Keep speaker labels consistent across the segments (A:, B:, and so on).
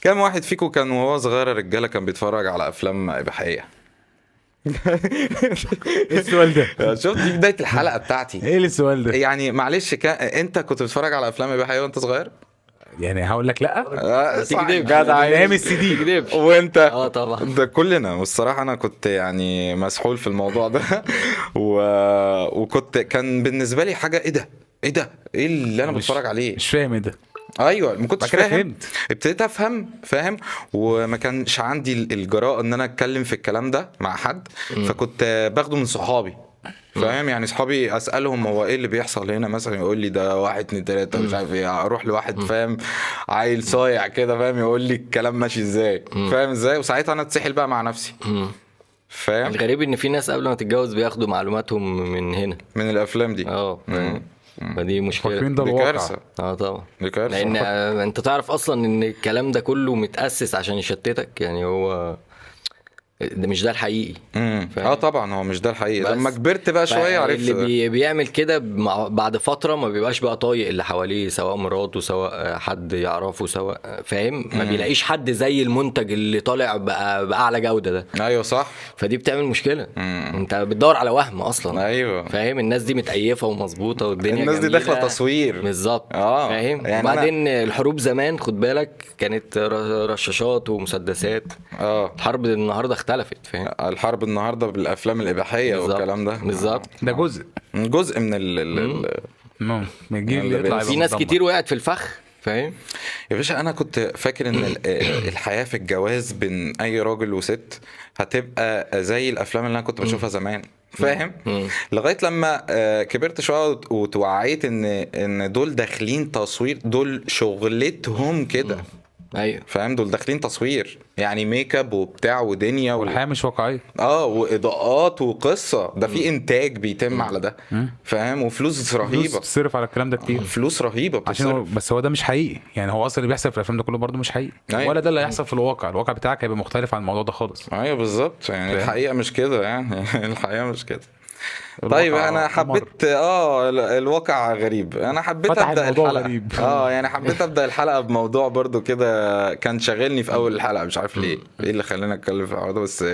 A: كم واحد فيكم كان وهو صغير يا رجاله كان بيتفرج على افلام اباحيه
B: ايه السؤال ده؟
A: آه، شفت دي بدايه الحلقه بتاعتي
B: ايه السؤال ده؟
A: يعني معلش كان انت كنت بتتفرج على افلام اباحيه وانت صغير
B: يعني هقول لك لا
A: آه، صح،
C: تكذب
A: جدع.
B: ايام السي دي
C: تكذب
A: وانت
C: اه طبعا
A: ده كلنا والصراحة أنا كنت يعني مسحول في الموضوع ده و... وكنت كان بالنسبة لي حاجة إيه ده؟ إيه ده؟ إيه اللي أنا
B: مش-
A: بتفرج عليه؟
B: مش فاهم ايه ده
A: أيوه ما كنتش
B: بعد كده
A: فاهم
B: فهمت.
A: ابتديت أفهم فاهم وما كانش عندي ال- الجراءة إن أنا أتكلم في الكلام ده مع حد فكنت باخده من صحابي فاهم يعني صحابي اسالهم هو ايه اللي بيحصل هنا مثلا يقول لي ده واحد اتنين تلاته مش عارف ايه اروح لواحد فاهم عيل صايع كده فاهم يقول لي الكلام ماشي ازاي فاهم ازاي وساعتها انا اتسحل بقى مع نفسي
C: مم.
A: فاهم
C: الغريب ان في ناس قبل ما تتجوز بياخدوا معلوماتهم من هنا
A: من الافلام دي
C: اه
A: مم.
C: فدي مشكله
B: فاكرين ده
A: دي
B: الواقع
A: كارثه
C: اه طبعا
A: دي كارثه
C: لان آه، انت تعرف اصلا ان الكلام ده كله متاسس عشان يشتتك يعني هو ده مش ده الحقيقي
A: مم.
C: فاهم؟
A: اه طبعا هو مش ده الحقيقي
C: بس.
A: لما كبرت بقى شويه عرفت
C: اللي
A: ده.
C: بي بيعمل كده مع- بعد فتره ما بيبقاش بقى طايق اللي حواليه سواء مراته سواء حد يعرفه سواء فاهم ما
A: مم.
C: بيلاقيش حد زي المنتج اللي طالع بقى باعلى جوده ده
A: ايوه صح
C: فدي بتعمل مشكله
A: مم.
C: انت بتدور على وهم اصلا
A: ايوه
C: فاهم الناس دي متأيفة ومظبوطة والدنيا
A: الناس دي
C: جميلة.
A: داخله تصوير
C: بالظبط
A: آه.
C: فاهم
A: يعني
C: يعني وبعدين الحروب زمان خد بالك كانت ر- رشاشات ومسدسات
A: اه
C: الحرب النهارده اختلفت فاهم
A: الحرب النهارده بالافلام الاباحيه
C: بالظبط.
A: آه، والكلام ده آه.
C: بالظبط
B: ده جزء
A: جزء من ال... ال... ال...
B: مم. من الجيل اللي
A: يلا
B: يطلع
A: بينا.
B: يبقى
C: في ناس
B: مدمر.
C: كتير وقعت في الفخ فاهم
A: يا باشا انا كنت فاكر ان ال- الحياه في الجواز بين اي راجل وست هتبقى زي الافلام اللي انا كنت بشوفها زمان فاهم
C: مم.
A: لغايه لما آه، كبرت شويه وت- وتوعيت ان ان دول داخلين تصوير دول شغلتهم كده
C: ايوه
A: فاهم دول داخلين تصوير يعني ميك اب وبتاع ودنيا و...
B: والحياه مش واقعيه
A: اه واضاءات وقصه ده في انتاج بيتم على ده فاهم وفلوس
B: فلوس
A: رهيبه
B: بتصرف على الكلام ده كتير
A: فلوس رهيبه
B: عشان
A: بتتصرف.
B: هو بس هو ده مش حقيقي يعني هو اصلا اللي بيحصل في الافلام ده كله برضه مش حقيقي
A: أيوة.
B: ولا ده اللي هيحصل في الواقع الواقع بتاعك هيبقى مختلف عن الموضوع ده خالص
A: ايوه بالظبط يعني
B: فاهم؟
A: الحقيقه مش كده يعني الحقيقه مش كده
B: الواقع
A: طيب انا
B: قمر.
A: حبيت اه ال- الواقع غريب انا حبيت
B: فتح
A: ابدا
B: الموضوع
A: الحلقه
B: غريب.
A: اه يعني حبيت ابدا الحلقه بموضوع برضو كده كان شاغلني في اول الحلقه مش عارف ليه ايه اللي خلاني اتكلم في الحوار ده بس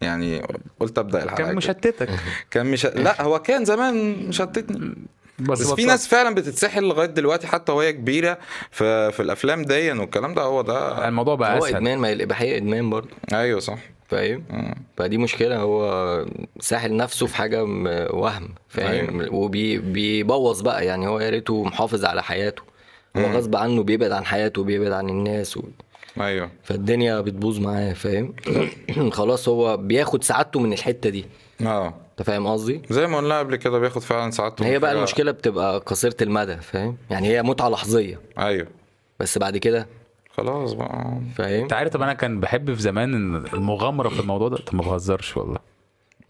A: يعني قلت ابدا الحلقه
B: كان إيه؟
A: كده.
B: مشتتك
A: كان مش لا هو كان زمان مشتتني
B: بس,
A: بس في
B: بطلت.
A: ناس فعلا بتتسحل لغايه دلوقتي حتى وهي كبيره في في الافلام دي والكلام ده هو ده
B: الموضوع بقى
C: هو
B: اسهل
C: ادمان ما هي الاباحيه ادمان برضه
A: ايوه صح
C: فاهم
A: مم.
C: فدي مشكله هو ساحل نفسه في حاجه م- وهم
A: أيوة.
C: فاهم وبيبوظ بقى يعني هو يا ريته محافظ على حياته هو غصب عنه بيبعد عن حياته بيبعد عن الناس و...
A: ايوه
C: فالدنيا بتبوظ معاه فاهم خلاص هو بياخد سعادته من الحته دي
A: اه
C: انت فاهم قصدي
A: زي ما قلنا قبل كده بياخد فعلا ساعات
C: هي بقى
A: وحاجة-
C: المشكله بتبقى قصيره المدى فاهم يعني هي متعه لحظيه
A: ايوه
C: بس بعد كده
A: خلاص بقى
C: فاهم
B: انت عارف طب انا كان بحب في زمان إن المغامره في الموضوع ده طب ما بهزرش والله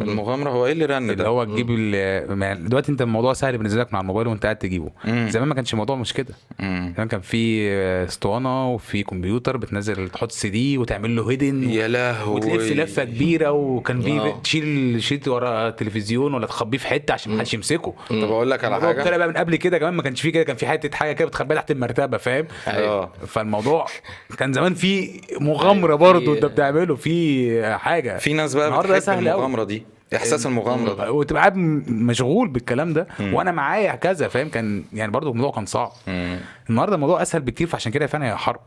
A: المغامره هو ايه اللي رن
B: اللي
A: ده؟
B: هو تجيب ال- ما- دلوقتي انت الموضوع سهل بالنسبه لك مع الموبايل وانت قاعد تجيبه
A: مم.
B: زمان ما كانش الموضوع مش كده
A: مم.
B: زمان كان في آه، اسطوانه وفي كمبيوتر بتنزل تحط سي دي وتعمل له هيدن
A: يا لهوي
B: وتلف لفه كبيره وكان في
C: آه.
B: تشيل شيت ورا التلفزيون ولا تخبيه في حته عشان محدش يمسكه
A: طب اقول لك على
B: الموضوع
A: حاجه
B: ابتدى بقى من قبل كده كمان ما كانش فيه كده كان في حته حاجه كده بتخبيها تحت المرتبه فاهم
A: اه
B: فالموضوع كان زمان في مغامره
C: أيوة،
B: برضه
C: في-
B: انت بتعمله في حاجه
A: في ناس بقى
B: النهارده
A: بتحب
B: سهل قوي
A: المغامره دي احساس المغامره ده
B: وتبقى قاعد م- مشغول بالكلام ده وانا معايا كذا فاهم كان يعني برضه الموضوع كان صعب
A: مم.
B: النهارده الموضوع اسهل بكتير فعشان كده فعلا هي حرب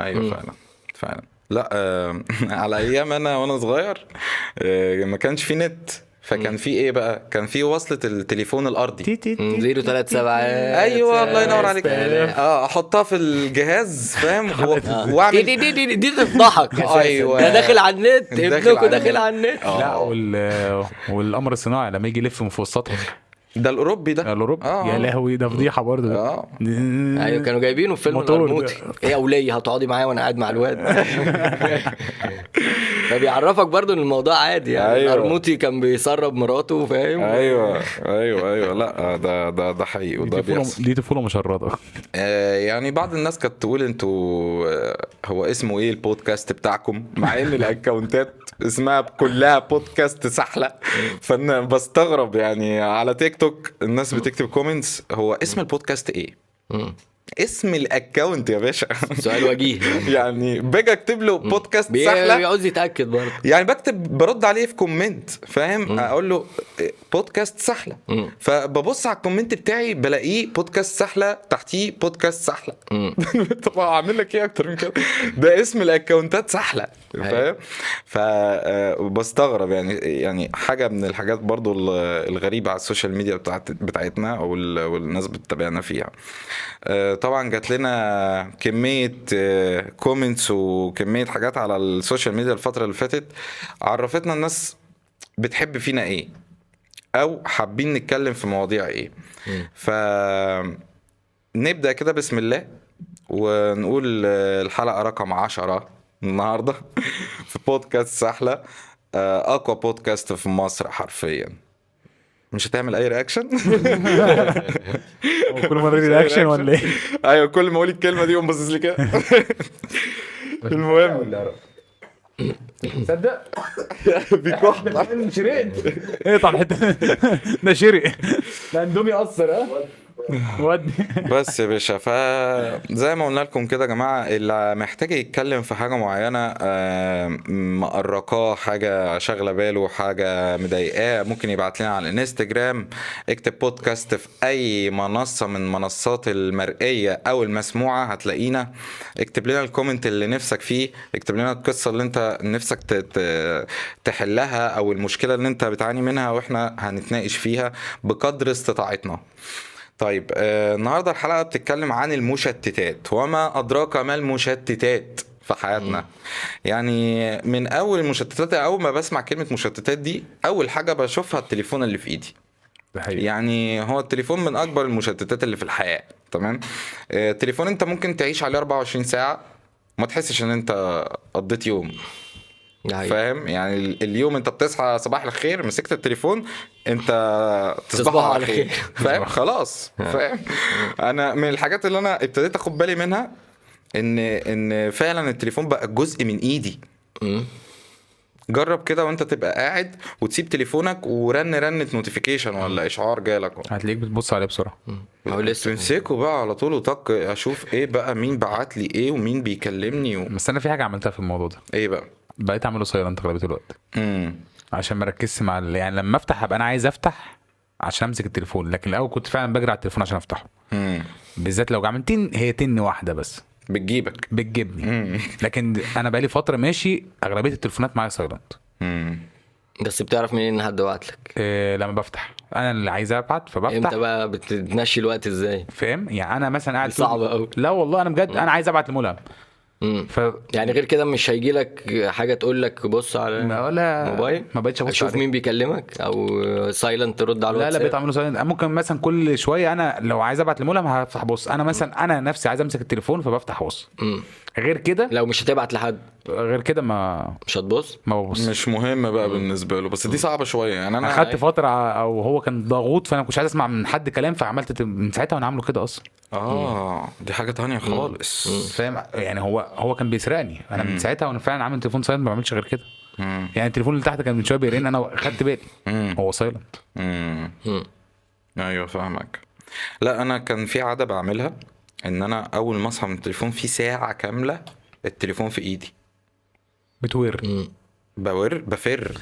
A: ايوه فعلا فعلا لا آه على ايام انا وانا صغير آه ما كانش في نت فكان في ايه بقى؟ كان في وصله التليفون الارضي
B: تي تي تي.
C: زيرو ثلاث سبعات
A: ايوه الله ينور عليك
C: سلام.
A: اه احطها في الجهاز فاهم و-
C: دي
A: واعمل
C: دي دي دي, دي تفضحك أساساً.
A: أيوة.
C: ده داخل على النت
A: داخل
C: ابنكوا
A: على
C: داخل
A: النت.
C: على النت
A: آه.
B: لا وال والقمر الصناعي لما يجي يلف من فوق السطح
A: ده الاوروبي ده
B: الاوروبي
A: آه.
B: يا لهوي ده فضيحه برضه
A: اه
C: ايوه كانوا جايبينه في فيلم
B: موتور
C: القرموطي
B: ده.
C: ايه يا وليه هتقعدي معايا وانا قاعد مع الواد فبيعرفك برضو ان الموضوع عادي يعني
A: أيوة.
C: أيوة. القرموطي كان بيسرب مراته فاهم
B: أيوة.
A: ايوه ايوه ايوه لا ده ده ده حقيقي وده
B: دي طفوله
A: بيحصل
B: دي طفوله مشرده
A: آه، يعني بعض الناس كانت تقول انتوا آه، هو اسمه ايه البودكاست بتاعكم مع ان الاكونتات اسمها كلها بودكاست سحله فانا بستغرب يعني على تيك توك الناس بتكتب كومنتس هو اسم البودكاست ايه
C: مم.
A: اسم الاكونت يا باشا
C: سؤال وجيه
A: يعني باجي اكتب له بودكاست
C: بي-
A: سهله
C: بيعوز يتاكد برضه
A: يعني بكتب برد عليه في كومنت فاهم اقول له آه، بودكاست سهله
C: مم.
A: فببص على الكومنت بتاعي بلاقيه بودكاست سهله تحتيه بودكاست سهله
C: مم.
A: طب هعمل لك ايه اكتر من كده ده اسم الاكونتات سهله
C: أيوة.
A: فاهم فبستغرب يعني يعني حاجه من الحاجات برضو ال- الغريبه على السوشيال ميديا بتاعت بتاعتنا او ال- والناس بتتابعنا فيها آه، طبعا جات لنا كميه كومنتس وكميه حاجات على السوشيال ميديا الفتره اللي فاتت عرفتنا الناس بتحب فينا ايه او حابين نتكلم في مواضيع ايه
C: مم.
A: ف نبدا كده بسم الله ونقول آه، الحلقه رقم 10 النهارده في بودكاست سحله آه، اقوى بودكاست في مصر حرفيا مش هتعمل اي رياكشن
D: هو كل مره رياكشن ولا
B: إيه؟
D: ايه؟
A: ايوه كل ما اقول الكلمه دي يقوم باصص لي كده المهم
B: تصدق
A: بيكح
B: شرقت
D: اقطع الحته ده شرق
B: الاندومي اثر ها
D: ودي
A: بس يا باشا فزي ما قلنا لكم كده يا جماعه اللي محتاج يتكلم في حاجه معينه آه، مقرقاه حاجه شاغله باله حاجه مضايقاه ممكن يبعت لنا على الانستجرام اكتب بودكاست في اي منصه من منصات المرئيه او المسموعه هتلاقينا اكتب لنا الكومنت اللي نفسك فيه اكتب لنا القصه اللي انت نفسك ت- ت- تحلها او المشكله اللي انت بتعاني منها واحنا هنتناقش فيها بقدر استطاعتنا طيب آه، النهارده الحلقه بتتكلم عن المشتتات وما ادراك ما المشتتات في حياتنا يعني من اول المشتتات اول ما بسمع كلمه مشتتات دي اول حاجه بشوفها التليفون اللي في ايدي
B: ده حقيقي
A: يعني هو التليفون من اكبر المشتتات اللي في الحياه تمام آه، التليفون انت ممكن تعيش عليه 24 ساعه ما تحسش ان انت قضيت يوم
C: ده حقيقي.
A: فاهم يعني ال- اليوم انت بتصحى صباح الخير مسكت التليفون انت تصبح على خير آه. فاهم خلاص فاهم انا من الحاجات اللي انا ابتديت اخد بالي منها ان ان فعلا التليفون بقى جزء من ايدي
C: مم.
A: جرب كده وانت تبقى قاعد وتسيب تليفونك ورن رنة نوتيفيكيشن ولا اشعار جالك
B: هتلاقيك بتبص عليه بسرعه
C: هو لسه
A: تمسكه بقى على طول وطق اشوف ايه بقى مين بعت لي ايه ومين بيكلمني و...
B: بس انا في حاجه عملتها في الموضوع ده
A: ايه بقى
B: بقيت اعمله سايلنت اغلبيه الوقت
A: امم
B: عشان ما اركزش مع ال- يعني لما افتح ابقى انا عايز افتح عشان امسك التليفون لكن الاول كنت فعلا بجري على التليفون عشان افتحه
A: امم
B: بالذات لو عملت تن هي تن واحده بس
A: بتجيبك
B: بتجيبني
A: امم
B: لكن انا بقالي فتره ماشي اغلبيه التليفونات معايا سايلنت
A: امم
C: بس بتعرف منين ان حد بعت لك
B: إيه لما بفتح انا اللي عايز ابعت
C: امتى
B: فبفتح
C: بقى بتتمشي الوقت ازاي
B: فاهم يعني انا مثلا قاعد
C: دي صعبة
B: طول-
C: أوي.
B: لا والله انا بجد انا عايز ابعت لملهم
C: مم.
B: ف
C: يعني غير كده مش هيجي لك حاجه تقول لك بص على
B: ما ولا
C: موبايل
B: ما بقتش ابص
C: اشوف
B: عليه.
C: مين بيكلمك او سايلنت ترد
B: لا
C: على
B: لا
C: الواتساب
B: بقيت اعمله سايلنت ممكن مثلا كل شويه انا لو عايز ابعت لملهم هفتح بص انا مثلا انا نفسي عايز امسك التليفون فبفتح بص
C: مم.
B: غير كده
C: لو مش هتبعت لحد
B: غير كده ما
C: مش هتبص
B: ما ببص
A: مش مهم بقى بالنسبه له بس دي صعبه شويه يعني انا
B: اخدت فتره او هو كان ضغوط فانا كنتش عايز اسمع من حد كلام فعملت تل- من ساعتها وانا عامله كده اصلا
A: اه دي حاجه تانية خالص
B: فاهم يعني هو هو كان بيسرقني انا من ساعتها وانا فعلا عامل تليفون سايلنت ما بعملش غير كده
A: مم.
B: يعني التليفون اللي تحت كان من شويه بيرن انا خدت بالي
A: مم.
B: هو سايلنت
A: مم.
C: مم.
A: ايوه فاهمك لا انا كان في عاده بعملها ان انا اول ما اصحى من التليفون في ساعه كامله التليفون في ايدي
B: بتور
C: مم.
A: بور بفر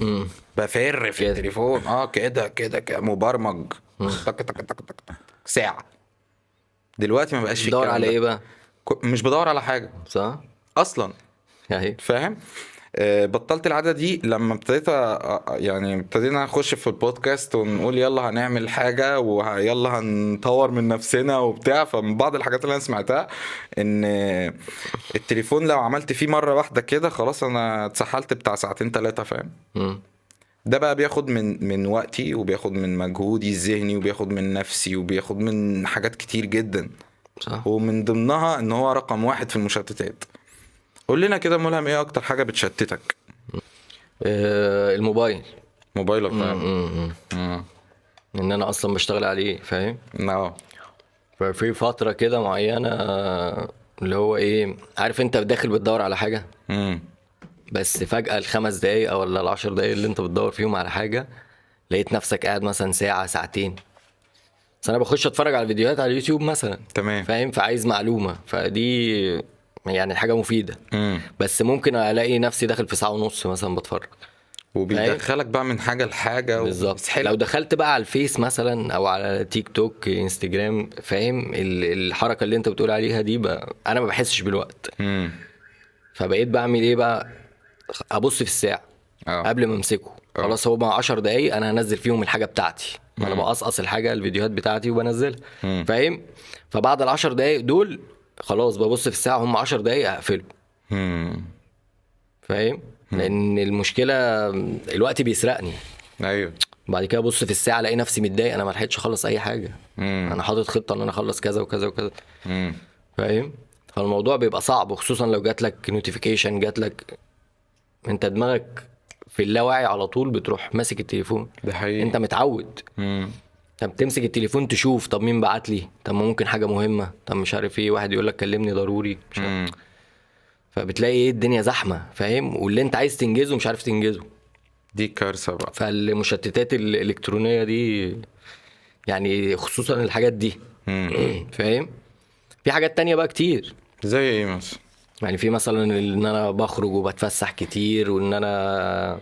C: مم.
A: بفر في
C: كده.
A: التليفون اه كده كده كده مبرمج تك تك تك تك تك. ساعه دلوقتي ما بقاش في
C: دور
A: الكلام
C: على
A: ده.
C: ايه بقى
A: ك- مش بدور على حاجه
C: صح
A: اصلا
C: يعني
A: فاهم آه، بطلت العاده دي لما ابتديت أ- أ- يعني ابتدينا نخش في البودكاست ونقول يلا هنعمل حاجه ويلا هنطور من نفسنا وبتاع فمن بعض الحاجات اللي انا سمعتها ان التليفون لو عملت فيه مره واحده كده خلاص انا اتسحلت بتاع ساعتين ثلاثه فاهم
C: مم.
A: ده بقى بياخد من من وقتي وبياخد من مجهودي الذهني وبياخد من نفسي وبياخد من حاجات كتير جدا
C: صح
A: ومن ضمنها ان هو رقم واحد في المشتتات قول لنا كده ملهم ايه اكتر حاجه بتشتتك
C: آه، الموبايل
A: موبايلك فاهم
C: مم.
A: مم.
C: ان انا اصلا بشتغل عليه فاهم
A: اه
C: ففي فتره كده معينه آه، اللي هو ايه عارف انت داخل بتدور على حاجه
A: مم.
C: بس فجاه الخمس دقايق او ولا العشر دقايق اللي انت بتدور فيهم على حاجه لقيت نفسك قاعد مثلا ساعه ساعتين بس انا بخش اتفرج على فيديوهات على اليوتيوب مثلا
A: تمام
C: فاهم فعايز معلومه فدي يعني حاجه مفيده
A: امم
C: بس ممكن الاقي نفسي داخل في ساعه ونص مثلا بتفرج
A: وبيدخلك بقى من حاجه لحاجه
C: بالظبط
A: وبيسحلك.
C: لو دخلت بقى على الفيس مثلا او على تيك توك انستجرام فاهم ال- الحركه اللي انت بتقول عليها دي بقى انا ما بحسش بالوقت
A: امم
C: فبقيت بعمل ايه بقى ابص في الساعه
A: اه
C: قبل ما امسكه
A: آه.
C: خلاص هو بقى 10 دقايق انا هنزل فيهم الحاجه بتاعتي ما انا بقصقص الحاجه الفيديوهات بتاعتي وبنزلها
A: مم.
C: فاهم فبعد ال 10 دقايق دول خلاص ببص في الساعه هم 10 دقايق هقفله
A: امم
C: فاهم لان المشكله الوقت بيسرقني
A: ايوه
C: بعد كده ابص في الساعه الاقي نفسي متضايق انا ما لحقتش اخلص اي حاجه
A: امم
C: انا حاطط خطه ان انا اخلص كذا وكذا وكذا
A: امم
C: فاهم فالموضوع بيبقى صعب وخصوصا لو جات لك نوتيفيكيشن جات لك انت دماغك في اللاواعي على طول بتروح ماسك التليفون
A: ده حقيقي
C: انت متعود
A: امم
C: طب تمسك التليفون تشوف طب مين بعت لي طب ما ممكن حاجه مهمه طب مش عارف ايه واحد يقول لك كلمني ضروري مش عارف.
A: امم
C: فبتلاقي ايه الدنيا زحمه فاهم واللي انت عايز تنجزه مش عارف تنجزه
A: دي كارثه بقى
C: فالمشتتات الالكترونيه دي يعني خصوصا الحاجات دي
A: امم
C: فاهم في حاجات تانية بقى كتير
A: زي ايه مثلا
C: يعني في مثلا ان انا بخرج وبتفسح كتير وان انا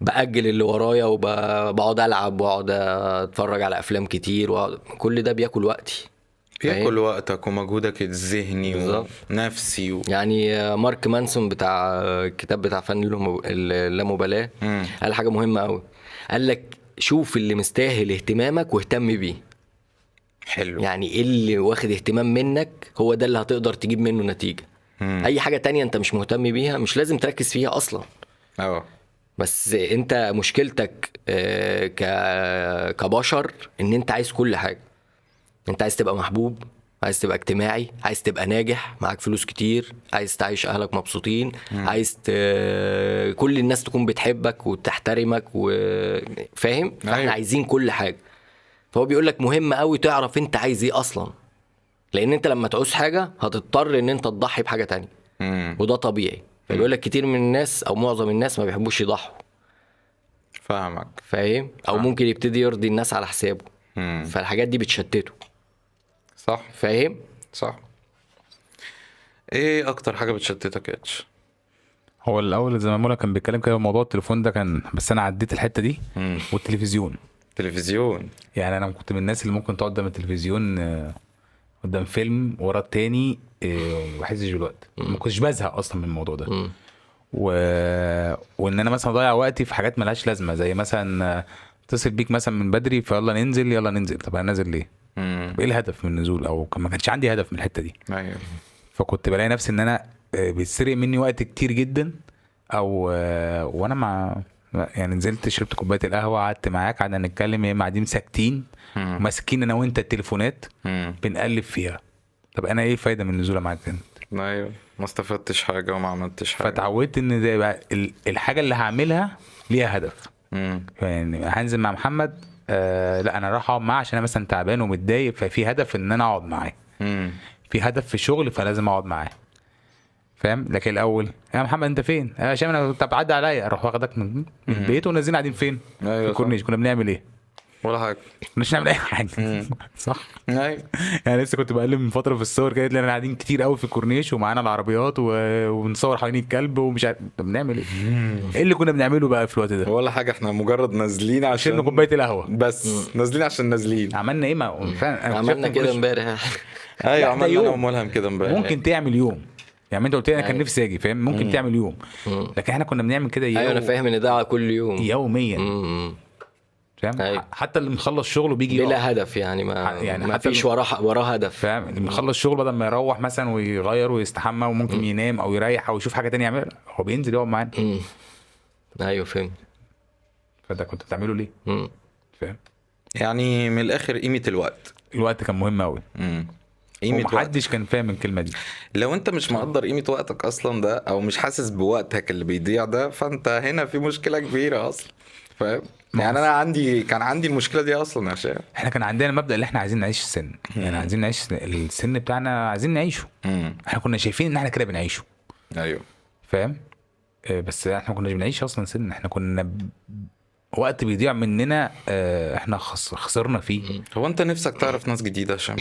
C: باجل اللي ورايا وبقعد العب واقعد اتفرج على افلام كتير وأقعد- كل ده بياكل وقتي
A: بياكل وقتك ومجهودك الذهني
C: ايه؟ بالظبط.
A: ونفسي و...
C: يعني مارك مانسون بتاع الكتاب بتاع فن اللام- اللامبالاه
A: مم.
C: قال حاجه مهمه قوي قال لك شوف اللي مستاهل اهتمامك واهتم بيه
A: حلو
C: يعني ايه اللي واخد اهتمام منك هو ده اللي هتقدر تجيب منه نتيجه
A: مم.
C: اي حاجه تانية انت مش مهتم بيها مش لازم تركز فيها اصلا
A: اه
C: بس انت مشكلتك آه، ك كبشر ان انت عايز كل حاجه انت عايز تبقى محبوب عايز تبقى اجتماعي عايز تبقى ناجح معاك فلوس كتير عايز تعيش اهلك مبسوطين عايز ت... كل الناس تكون بتحبك وتحترمك وفاهم فاحنا
A: أيوة.
C: عايزين كل حاجه فهو بيقول لك مهم قوي تعرف انت عايز ايه اصلا لان انت لما تعوز حاجه هتضطر ان انت تضحي بحاجه تانية
A: امم
C: وده طبيعي فبيقول لك كتير من الناس او معظم الناس ما بيحبوش يضحوا
A: فاهمك
C: فاهم او ممكن يبتدي يرضي الناس على حسابه
A: امم
C: فالحاجات دي بتشتته
A: صح
C: فاهم
A: صح ايه اكتر حاجه بتشتتك يا اتش
B: هو الاول زي ما مولا كان بيتكلم كده موضوع التليفون ده كان بس انا عديت الحته دي
A: مم.
B: والتلفزيون
A: تلفزيون
B: يعني انا كنت من الناس اللي ممكن تقعد قدام التلفزيون آه، قدام فيلم ورا التاني آه، وما احسش بالوقت ما كنتش بزهق اصلا من الموضوع ده
C: مم.
B: و... وان انا مثلا اضيع وقتي في حاجات ملهاش لازمه زي مثلا آه، اتصل بيك مثلا من بدري فيلا ننزل يلا ننزل طب انا نازل ليه؟
A: امم
B: طب ايه الهدف من النزول او كان- ما كانش عندي هدف من الحته دي
A: ايوه
B: فكنت بلاقي نفسي ان انا آه، بيتسرق مني وقت كتير جدا او آه، وانا مع يعني نزلت شربت كوبايه القهوه قعدت معاك قعدنا نتكلم يا اما قاعدين ساكتين
A: مم.
B: ماسكين انا وانت التليفونات
A: امم
B: بنقلب فيها طب انا ايه الفايده من النزوله معاك هنا
A: ايوه ما استفدتش حاجه وما عملتش حاجه
B: فتعودت ان ده يبقى ال- الحاجه اللي هعملها ليها هدف
A: امم
B: يعني هنزل مع محمد آه لا انا رايح اقعد معاه عشان انا مثلا تعبان ومتضايق ففي هدف ان انا اقعد معاه
A: امم
B: في هدف في الشغل فلازم اقعد معاه فاهم لكن الاول يا محمد انت فين يا هشام انا طب عدى عليا اروح واخدك من من البيت ونازلين قاعدين فين
A: أيوة
B: في
A: صح.
B: الكورنيش كنا بنعمل ايه
A: ولا حاجه
B: مش نعمل اي حاجه صح
A: ايوه
B: يعني لسه كنت بقلب من فتره في الصور كده لان قاعدين كتير قوي في الكورنيش ومعانا العربيات و... وبنصور حوالين الكلب ومش عارف طب بنعمل ايه؟ ايه اللي كنا بنعمله بقى في الوقت ده؟
A: ولا حاجه احنا مجرد نازلين
B: شربنا
A: عشان
B: كوبايه القهوه
A: بس نازلين عشان نازلين
B: عملنا ايه ما فعلا أنا
C: عملنا
B: اكتشفت إن أيوة،
C: كده
B: كل-
C: امبارح
A: ايوه
B: ده
A: عملنا انا
B: يعني يوم.
A: وملهم كده امبارح
B: ممكن تعمل يوم يعني انت قلت لي انا كان
C: أيوة.
B: نفسي اجي فاهم ممكن تعمل يوم لكن احنا كنا بنعمل كده يوم...
C: ايوه انا فاهم ان ده على كل يوم
B: يوميا
C: مم.
B: فاهم
C: أيوة.
B: ح- حتى اللي مخلص شغله بيجي يقف.
C: بلا هدف يعني ما
B: يعني
C: يعني ما
B: حتى
C: فيش
B: لو-
C: وراه وراه هدف
B: فاهم اللي مخلص شغله بدل ما يروح مثلا ويغير ويستحمى وممكن ينام او يريح او يشوف حاجه تانية يعملها هو بينزل يقعد معانا
C: مم. ايوه فهمت
B: فده كنت بتعمله ليه؟
C: مم.
B: فاهم
A: يعني من الاخر قيمه الوقت
B: الوقت كان مهم قوي
A: امم قيمه وقت
B: ومحدش كان فاهم الكلمه دي
A: لو انت مش مقدر قيمه وقتك اصلا ده او مش حاسس بوقتك اللي بيضيع ده فانت هنا في مشكله كبيره اصلا فاهم يعني انا عندي كان عندي المشكله دي اصلا يا شباب
B: احنا كان عندنا المبدا اللي احنا عايزين نعيش السن يعني عايزين نعيش السن بتاعنا عايزين نعيشه
A: امم
B: احنا كنا شايفين ان احنا كده بنعيشه
A: ايوه
B: أيوة. فاهم آه، بس احنا ما كناش بنعيش اصلا سن احنا كنا ب... وقت بيضيع مننا آه، احنا خس- خسرنا فيه
A: هو انت نفسك تعرف ناس جديده يا هشام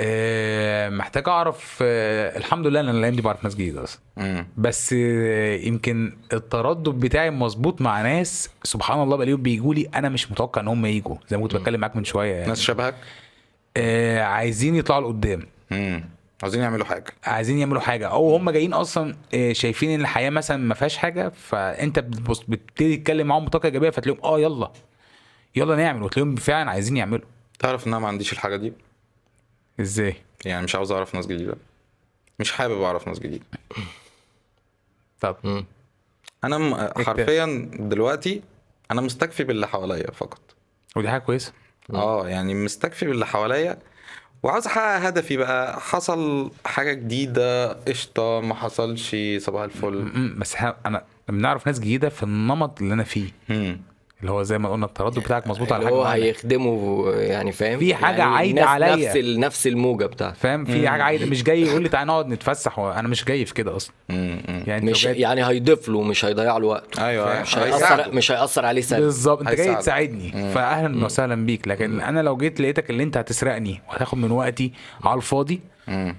B: آه، محتاج اعرف آه، الحمد لله ان أنا الايام دي بعرف ناس جديده اصلا
A: مم.
B: بس آه، يمكن التردد بتاعي مظبوط مع ناس سبحان الله بلاقيهم بيجوا لي انا مش متوقع ان هم يجوا زي ما كنت بتكلم معاك من شويه يعني
A: ناس شبهك
B: آه، عايزين يطلعوا لقدام
A: مم. عاوزين يعملوا حاجه
B: عايزين يعملوا حاجه او هم جايين اصلا آه، شايفين ان الحياه مثلا ما فيهاش حاجه فانت بتبص بتبتدي تتكلم معاهم بطاقه ايجابيه فتلاقيهم اه يلا يلا نعمل وتلاقيهم فعلا عايزين يعملوا
A: تعرف ان انا ما عنديش الحاجه دي
B: ازاي
A: يعني مش عاوز اعرف ناس جديده مش حابب اعرف ناس جديده
B: طب
C: مم.
A: انا م- حرفيا دلوقتي انا مستكفي باللي حواليا فقط
B: ودي حاجه كويسه
A: اه يعني مستكفي باللي حواليا وعاوز احقق هدفي بقى حصل حاجه جديده قشطه ما حصلش صباح الفل
B: م-م، بس ح- انا بنعرف ناس جديده في النمط اللي انا فيه
A: مم.
B: اللي هو زي ما قلنا التردد بتاعك مظبوط على
C: اللي
B: حاجه
C: هو
B: معينة.
C: هيخدمه يعني فاهم
B: في حاجة
C: يعني
B: عايدة
C: نفس-
B: عليا.
C: نفس ال- نفس الموجه بتاعته
B: فاهم في حاجه عايز مش جاي يقول لي تعالى نقعد نتفسح هو- انا مش جاي في كده اصلا
A: مم. مم.
B: يعني انت
C: مش
B: لو جاي-
C: يعني هيضيف له مش هيضيع له وقته
A: ايوه
C: مش
A: هيساعده.
C: هيأثر مش هيأثر عليه سلبي
B: أيوة، بالظبط انت جاي
A: هيساعدك.
B: تساعدني فاهلا وسهلا بيك لكن انا لو جيت لقيتك اللي انت هتسرقني وهتاخد من وقتي على الفاضي
A: مم.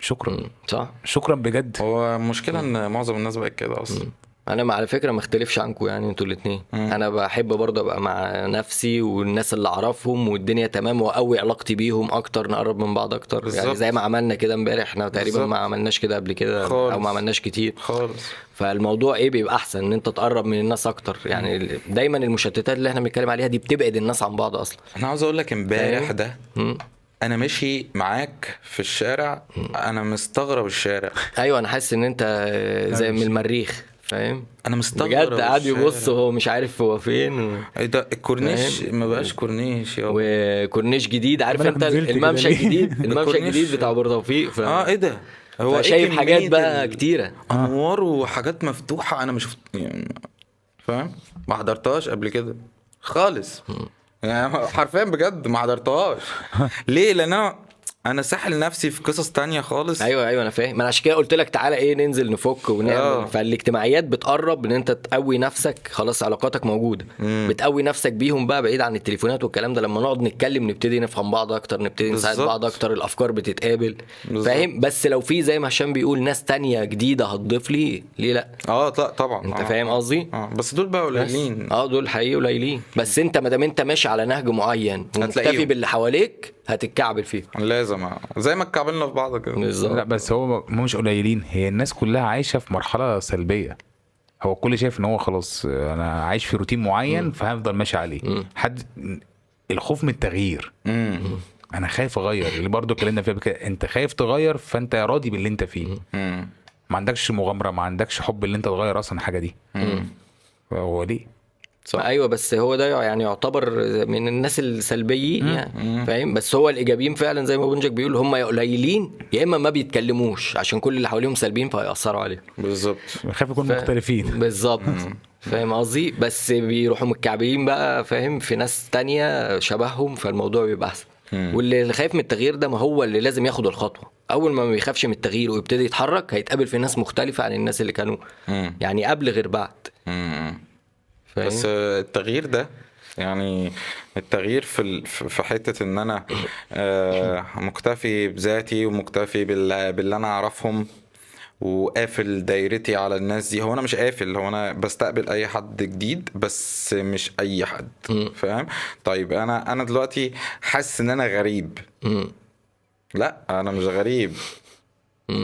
B: شكرا
C: صح
B: شكرا بجد
A: هو المشكله ان معظم الناس بقت كده اصلا
C: انا مع- على فكره ما اختلفش عنكم يعني انتوا الاثنين انا بحب برضه ابقى مع نفسي والناس اللي اعرفهم والدنيا تمام واقوي علاقتي بيهم اكتر نقرب من بعض اكتر يعني
A: بالظبط.
C: زي ما عملنا كده امبارح احنا تقريبا
A: بالظبط.
C: ما عملناش كده قبل كده
A: خالص.
C: او ما عملناش كتير
A: خالص
C: فالموضوع ايه بيبقى احسن ان انت تقرب من الناس اكتر يعني ال- دايما المشتتات اللي احنا بنتكلم عليها دي بتبعد الناس عن بعض اصلا
A: انا عاوز اقول لك امبارح
C: فاهم؟
A: ده
C: مم.
A: انا ماشي معاك في الشارع انا مستغرب الشارع
C: ايوه انا حاسس ان انت زي من المريخ فاهم
A: انا مستغرب
C: بجد قاعد
A: الشارع.
C: يبص هو مش عارف هو فين
A: ايه ده الكورنيش ما بقاش كورنيش يا و...
C: وكورنيش جديد عارف
D: طب أنا
C: انت
D: نزلت كده
C: الممشى
D: ليه؟
C: الجديد الممشى
A: بالكورنيش.
C: الجديد بتاع برطفيق ف...
A: اه ايه ده
C: هو
A: إيه
C: شايف
A: كمية
C: حاجات بقى
A: ال-
C: كتيره
A: انوار وحاجات مفتوحه انا مش شفت يعني فاهم ما حضرتهاش قبل كده خالص يعني حرفيا بجد ما حضرتهاش ليه لان انا انا ساحل نفسي في قصص تانية خالص
C: ايوه ايوه انا فاهم ما انا عشان كده قلت لك تعالى ايه ننزل نفك
A: آه.
C: ونعمل فالاجتماعيات بتقرب ان انت تقوي نفسك خلاص علاقاتك موجوده بتقوي نفسك بيهم بقى بعيد عن التليفونات والكلام ده لما نقعد نتكلم نبتدي نفهم بعض اكتر نبتدي نساعد
A: بالظبط.
C: بعض اكتر الافكار بتتقابل
A: بالظبط.
C: فاهم بس لو في زي ما هشام بيقول ناس تانية جديده هتضيف لي ليه لا
A: اه لا طبعا
C: انت
A: آه.
C: فاهم قصدي
A: اه بس دول بقى قليلين
C: اه دول حقيقي قليلين بس انت ما دام انت ماشي على نهج معين ومكتفي
A: هتلاقيهم.
C: باللي حواليك هتتكعبل فيه
A: لازم آه. زي ما اتكعبلنا في بعض كده
B: لا
C: بالظبط
B: بس هو م- مش قليلين هي الناس كلها عايشه في مرحله سلبيه هو الكل شايف ان هو خلاص آه، انا عايش في روتين معين فهفضل ماشي عليه حد الخوف من التغيير
A: امم
B: انا خايف اغير اللي برضه اتكلمنا فيها قبل كده انت خايف تغير فانت راضي باللي انت فيه
A: امم
B: ما عندكش مغامره ما عندكش حب اللي انت تغير اصلا الحاجه دي هو ليه
C: صح. ايوه بس هو ده يعني يعتبر من الناس السلبيين يعني فاهم بس هو الايجابيين فعلا زي ما بونجك بيقول هم يا قليلين يا اما ما بيتكلموش عشان كل اللي حواليهم سلبيين فهيأثروا عليهم
A: بالظبط
B: خايف يكون
C: ف-
B: مختلفين
C: بالظبط فاهم قصدي بس بيروحوا متكعبلين بقى فاهم في ناس تانية شبههم فالموضوع بيبقى احسن واللي خايف من التغيير ده ما هو اللي لازم ياخد الخطوه اول ما ما بيخافش من التغيير ويبتدي يتحرك هيتقابل في ناس مختلفه عن الناس اللي كانوا
A: مم.
C: يعني قبل غير بعد
A: امم
C: فاهم؟
A: بس آه، التغيير ده يعني التغيير في ال... في في حته ان انا آه، مكتفي بذاتي ومكتفي بال... باللي انا اعرفهم وقافل دايرتي على الناس دي هو انا مش قافل هو انا بستقبل اي حد جديد بس مش اي حد فاهم طيب انا انا دلوقتي حاسس ان انا غريب
C: مم.
A: لا انا مش غريب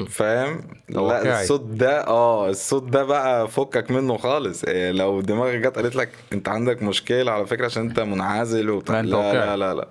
A: فاهم لا
B: واقعي.
A: الصوت ده اه الصوت ده بقى فكك منه خالص إيه لو دماغك جت قالت لك انت عندك مشكله على فكره عشان انت منعزل وبتاع
B: لا، أنت
A: لا لا
B: واقعي.
A: لا, لا.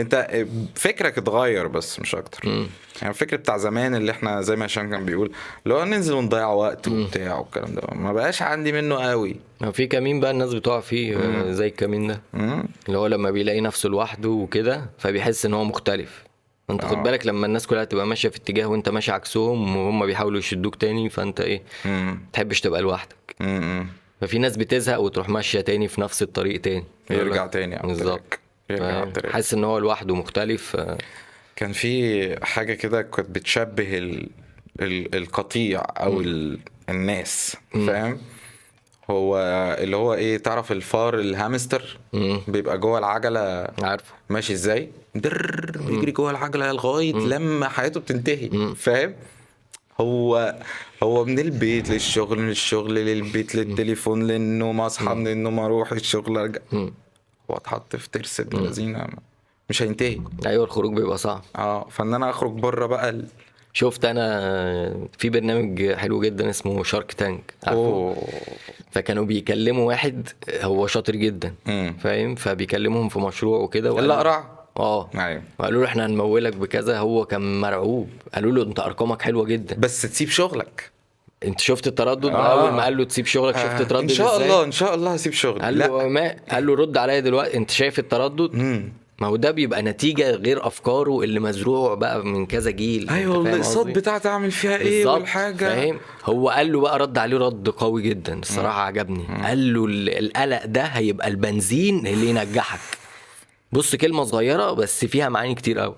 A: انت فكرك اتغير بس مش اكتر يعني الفكر بتاع زمان اللي احنا زي ما هشام كان بيقول لو ننزل ونضيع وقت وبتاع والكلام ده ما بقاش عندي منه قوي
C: ما في كمين بقى الناس بتقع فيه آه، زي الكمين ده
A: مم.
C: اللي هو لما بيلاقي نفسه لوحده وكده فبيحس ان هو مختلف انت
A: آه.
C: خد بالك لما الناس كلها تبقى ماشيه في اتجاه وانت ماشي عكسهم وهم بيحاولوا يشدوك تاني فانت ايه
A: مم.
C: تحبش تبقى لوحدك
A: مم. مم.
C: ففي ناس بتزهق وتروح ماشيه تاني في نفس الطريق تاني
A: يرجع تاني على
C: بالظبط
A: التراك. يرجع على التراك.
C: حاسس ان هو لوحده مختلف آه،
A: كان في حاجة كده كانت بتشبه ال... ال... القطيع أو ال... الناس فاهم هو اللي هو ايه تعرف الفار الهامستر
C: مم.
A: بيبقى جوه العجله
C: عارفه
A: ماشي ازاي در بيجري جوه العجله لغايه لما حياته بتنتهي فاهم هو هو من البيت للشغل من الشغل للبيت للتليفون للنوم اصحى من النوم اروح الشغل ارجع
C: مم.
A: هو اتحط في ترس ابن لذينه مش هينتهي
C: ايوه الخروج بيبقى صعب
A: اه فان انا اخرج بره بقى ال...
C: شفت انا في برنامج حلو جدا اسمه شارك تانك عارفه
A: اوه
C: فكانوا بيكلموا واحد آه، هو شاطر جدا
A: مم.
C: فاهم فبيكلمهم في مشروع وكده وقال-
A: اللي اقرع
C: اه
A: ايوه
C: وقالوا له احنا هنمولك بكذا هو كان مرعوب قالوا له انت ارقامك حلوه جدا
A: بس تسيب شغلك
C: انت شفت التردد
A: آه.
C: آه. اول ما قال له تسيب شغلك شفت
A: آه،
C: تردد
A: ان شاء
C: ازاي؟
A: الله ان شاء الله هسيب شغلي
C: قال
A: لا.
C: له آه، "أه، ما قال له رد عليا دلوقتي انت شايف التردد
A: مم.
C: ما هو ده بيبقى نتيجه غير افكاره اللي مزروع بقى من كذا جيل
A: ايوه
C: انت فاهم
A: الاقساط
C: قصدي؟
A: بتاعتي اعمل فيها ايه
C: بالظبط،
A: والحاجه
C: فاهم هو قال له بقى رد عليه رد قوي جدا الصراحه عجبني قال له ال- القلق ده هيبقى البنزين اللي ينجحك بص كلمه صغيره بس فيها معاني كتير قوي